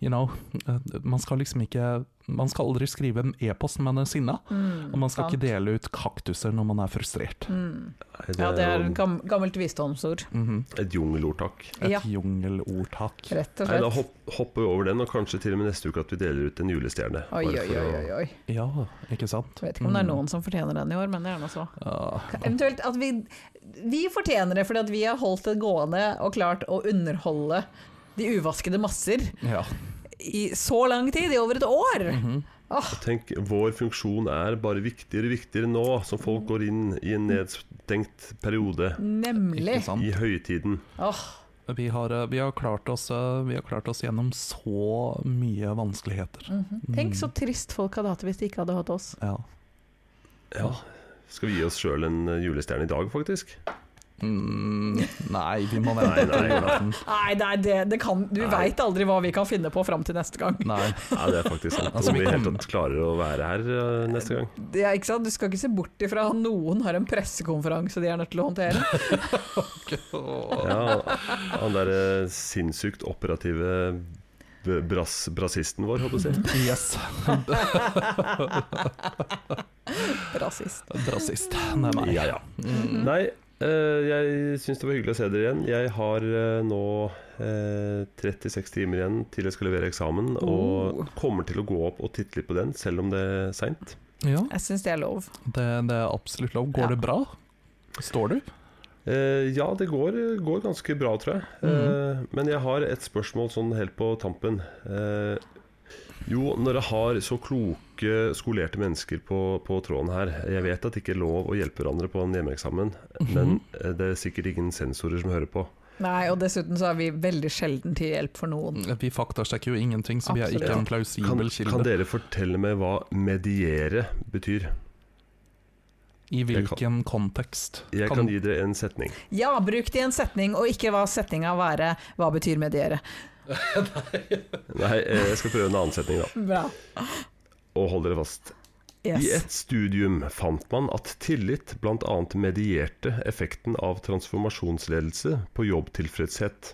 Speaker 3: You know, eh, man skal liksom ikke Man skal aldri skrive en e-post når man er sinna, og man skal
Speaker 2: Mm, sant. Mm.
Speaker 3: ikke dele ut kaktuser når man er frustrert.
Speaker 1: Nei,
Speaker 2: Ja, det er
Speaker 1: jo
Speaker 2: et gam gammelt visdomsord.
Speaker 3: Mhm.
Speaker 1: et jungelordtak.
Speaker 3: Et
Speaker 2: Ja.
Speaker 3: jungelordtak.
Speaker 2: Rett og
Speaker 1: Nei, da
Speaker 2: slett.
Speaker 1: hopp, hopper vi over den, og kanskje til og med neste uke at vi deler ut en julestjerne. bare
Speaker 2: Oi, oi,
Speaker 1: for
Speaker 2: oi,
Speaker 1: å-
Speaker 2: oi, oi.
Speaker 3: Ja, ikke sant? Mm.
Speaker 2: Jeg vet ikke om det er noen som fortjener den i år, men det er nå så.
Speaker 3: Ja.
Speaker 2: Eventuelt at vi Vi fortjener det fordi at vi har holdt det gående og klart å underholde de uvaskede masser
Speaker 3: ja. Mhm.
Speaker 2: i så lang tid, i over et år.
Speaker 1: Tenk, vår funksjon er bare viktigere og viktigere nå, som
Speaker 2: Mm.
Speaker 1: folk går inn i en nedstengt periode
Speaker 2: Nemlig.
Speaker 3: Ikke sant?
Speaker 1: i høytiden.
Speaker 2: Åh,
Speaker 3: Vi har, eh, vi, har klart oss, eh, vi har klart oss gjennom så mye
Speaker 2: Mm.
Speaker 3: vanskeligheter.
Speaker 2: tenk så trist folk hadde hatt det hvis de ikke hadde hatt oss.
Speaker 3: Ja.
Speaker 1: Ja, Skal vi gi oss sjøl en eh, julestjerne i dag, faktisk?
Speaker 3: Mm, nei, vi må
Speaker 1: Nei,
Speaker 3: vente
Speaker 1: nei.
Speaker 3: til julaften.
Speaker 2: Nei, nei det, det kan, du
Speaker 1: Nei.
Speaker 2: veit aldri hva vi kan finne på fram til neste gang.
Speaker 3: Nei.
Speaker 1: Ja, det er faktisk sant.
Speaker 3: Altså,
Speaker 1: Om
Speaker 3: vi
Speaker 1: vi i det hele
Speaker 3: kommer-
Speaker 1: tatt klarer å være her eh, neste gang.
Speaker 2: Det er ikke sant? Du skal ikke se bort ifra at noen har en pressekonferanse de er nødt til å håndtere.
Speaker 1: Ja, han derre sinnssykt operative b- brass, brassisten vår, holdt jeg på å si.
Speaker 3: Yes.
Speaker 2: Rasist.
Speaker 3: Rasist.
Speaker 2: Mm.
Speaker 3: Nei, meg. Mm.
Speaker 1: Ja, ja. Nei, eh, jeg syns det var hyggelig å se dere igjen. Jeg har eh, nå eh, 36 timer igjen til jeg skal levere eksamen,
Speaker 2: Oh.
Speaker 1: og kommer til å gå opp og titte litt på den, selv om det er seint.
Speaker 3: Ja,
Speaker 2: Jeg syns det er lov.
Speaker 3: det, det er absolutt lov. Går
Speaker 2: Ja.
Speaker 3: det bra? Står du?
Speaker 1: Eh, ja, det går, går ganske bra, tror jeg. Eh, men jeg har et spørsmål sånn helt på tampen. Eh, jo, når jeg har så kloke, skolerte mennesker på, på tråden her Jeg vet at det ikke er lov å hjelpe hverandre på en hjemmeeksamen, men eh, det er sikkert ingen sensorer som hører på.
Speaker 2: Nei, og dessuten så er vi veldig sjelden til hjelp for noen.
Speaker 3: Vi faktasjekker jo ingenting, så vi er ikke
Speaker 2: Absolutt.
Speaker 3: en
Speaker 1: Kan,
Speaker 3: klausibel
Speaker 1: kan
Speaker 3: kilde.
Speaker 1: dere fortelle meg hva mediere betyr?
Speaker 3: I
Speaker 1: Jeg kan-
Speaker 3: hvilken kontekst?
Speaker 1: Jeg kan gi dere en setning.
Speaker 2: Ja, bruk det i en setning, og ikke hva setninga være. Hva betyr mediere?
Speaker 1: Nei, eh, jeg skal prøve en annen setning, da.
Speaker 2: Bra.
Speaker 1: Og hold dere fast. I
Speaker 2: Yes.
Speaker 1: et studium fant man at tillit bl.a. medierte effekten av transformasjonsledelse på jobbtilfredshet.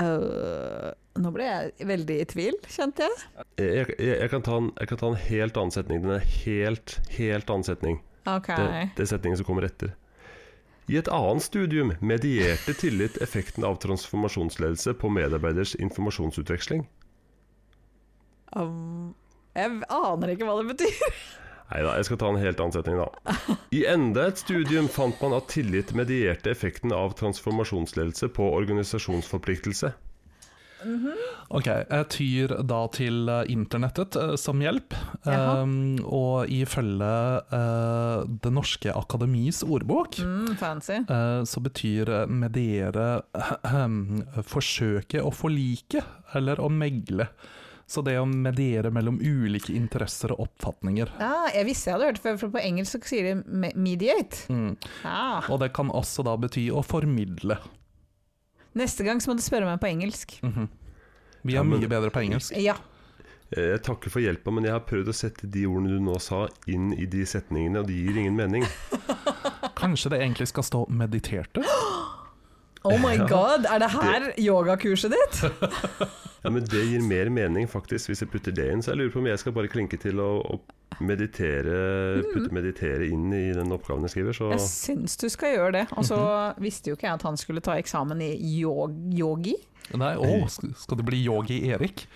Speaker 2: Øh, nå ble jeg veldig i tvil, kjente jeg.
Speaker 1: Eh, Jeg, jeg, jeg, kan ta en, jeg kan ta en helt annen setning. Den er helt, helt annen setning.
Speaker 2: Ok.
Speaker 1: Det, det er setningen som kommer etter. I et annet studium medierte tillit effekten av transformasjonsledelse på medarbeiders informasjonsutveksling.
Speaker 2: Um, jeg aner ikke hva det betyr.
Speaker 1: Nei da, jeg skal ta en helt annen setning, da. I enda et studium fant man at tillit medierte effekten av transformasjonsledelse på organisasjonsforpliktelse.
Speaker 3: Ok, jeg tyr da til eh, internettet eh, som hjelp,
Speaker 2: Jaha.
Speaker 3: um, og ifølge eh, Det norske akademis ordbok
Speaker 2: Mm, fancy.
Speaker 3: eh, så betyr eh, mediere eh, forsøke å forlike, eller å megle. Så det å mediere mellom ulike interesser og oppfatninger.
Speaker 2: Ah, jeg visste jeg hadde hørt det før, for på engelsk så sier de me- mediate.
Speaker 3: Mm.
Speaker 2: Ah.
Speaker 3: Og det kan også da bety å formidle.
Speaker 2: Neste gang så må du spørre meg på engelsk.
Speaker 3: Mhm. Vi
Speaker 1: Ja,
Speaker 3: er
Speaker 1: men-
Speaker 3: mye bedre på engelsk.
Speaker 2: Ja.
Speaker 1: Eh, Jeg takker for hjelpa, men jeg har prøvd å sette de ordene du nå sa, inn i de setningene, og de gir ingen mening.
Speaker 3: Kanskje det egentlig skal stå 'mediterte'?
Speaker 2: Oh my god, er det her yogakurset ditt?
Speaker 1: Ja, men det gir mer mening, faktisk, hvis jeg putter det inn. Så jeg lurer på om jeg skal bare klinke til å, å meditere, putte 'meditere' inn i den oppgaven jeg skriver, så
Speaker 2: Jeg syns du skal gjøre det. Og så visste jo ikke jeg at han skulle ta eksamen i yog yogi.
Speaker 3: Nei, å, sk- skal det bli Yogi Erik?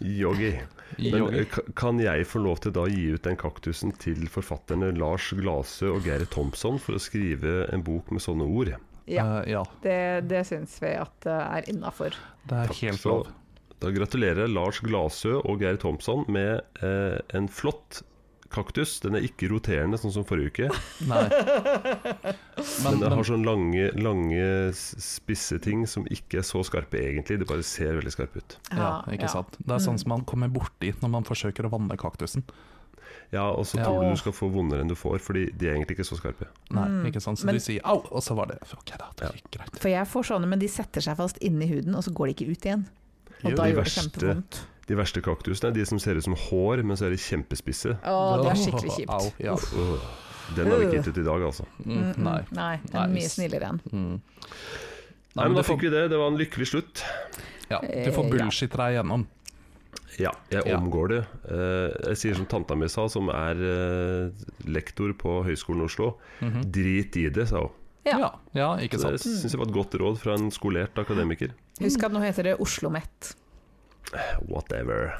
Speaker 1: yogi. Men eh,
Speaker 3: Yogi.
Speaker 1: ka- kan jeg få lov til da å gi ut den kaktusen til forfatterne Lars Glasø og Geir Thompson for å skrive en bok med sånne ord?
Speaker 2: Ja,
Speaker 3: Eh, ja.
Speaker 2: det, det syns vi at det er innafor.
Speaker 3: Det er
Speaker 1: Takk,
Speaker 3: helt
Speaker 1: så-
Speaker 3: lov.
Speaker 1: Da gratulerer jeg Lars Glasø og Geir Thompson med eh, en flott kaktus. Den er ikke roterende, sånn som forrige uke.
Speaker 3: Nei. Men,
Speaker 1: Men den
Speaker 3: men
Speaker 1: har sånne lange, lange, s- spisse ting som ikke er så skarpe egentlig. Det bare ser veldig skarpe ut.
Speaker 3: ja, ikke sant. Det er sånn som man kommer borti når man forsøker å vanne kaktusen.
Speaker 1: Ja, Og så
Speaker 3: Ja.
Speaker 1: tror du du skal få vondere enn du får, fordi de er egentlig ikke så skarpe.
Speaker 3: Nei, ikke sant. Så
Speaker 2: Mm. Men-
Speaker 3: du sier 'au', og så var det Ok, da. Det gikk greit.
Speaker 2: For jeg får sånne, men de setter seg fast inni huden, og så går de ikke ut igjen. Og
Speaker 1: Jo,
Speaker 2: da
Speaker 1: de
Speaker 2: gjør det
Speaker 1: verste.
Speaker 2: kjempevondt.
Speaker 1: De verste kaktusene er de som ser ut som hår, men så er de kjempespisse.
Speaker 2: Å, det er skikkelig
Speaker 3: Au,
Speaker 2: kjipt.
Speaker 3: ja.
Speaker 1: Øh, Den har vi ikke gitt ut i dag, altså.
Speaker 3: Mm, nei.
Speaker 2: Nei, det er mye
Speaker 3: Nice.
Speaker 2: snillere enn.
Speaker 3: Mm.
Speaker 1: Nei, men Da fikk vi det. Det var en lykkelig slutt.
Speaker 3: ja, du får
Speaker 2: Eh, ja.
Speaker 3: bullshit deg igjennom.
Speaker 1: Ja, jeg
Speaker 3: Ja.
Speaker 1: omgår det. Eh, Jeg sier som tanta mi sa, som er eh, lektor på Høgskolen i Oslo.
Speaker 2: Mhm.
Speaker 1: Drit i det, sa hun.
Speaker 2: Ja.
Speaker 3: Ja, ja ikke
Speaker 1: Så
Speaker 3: sant.
Speaker 1: Det syns jeg var et godt råd fra en skolert akademiker.
Speaker 2: Husk at nå heter det OsloMet.
Speaker 1: Whatever.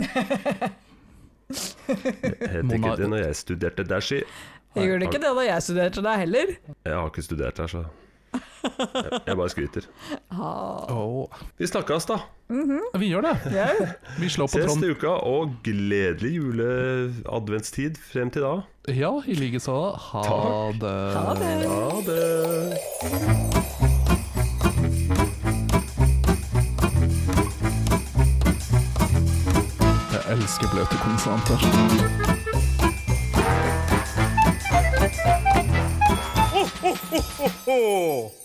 Speaker 1: Het ikke
Speaker 3: Mona-
Speaker 1: det når jeg studerte der, si.
Speaker 2: Jeg gjorde ikke det da jeg studerte der heller.
Speaker 1: Jeg har ikke studert der, så jeg jeg bare skryter.
Speaker 3: Å,
Speaker 1: Vi snakkes, da.
Speaker 3: Vi gjør det. Vi slår på
Speaker 1: Ses
Speaker 3: Trond.
Speaker 1: til uka, og gledelig juleadventstid frem til da.
Speaker 3: Ja, i like så. Ha
Speaker 1: Takk.
Speaker 3: det.
Speaker 2: Ha det.
Speaker 1: Ha det.
Speaker 3: Jeg elsker bløte konsonanter.
Speaker 5: Ho, ho, ho, ho!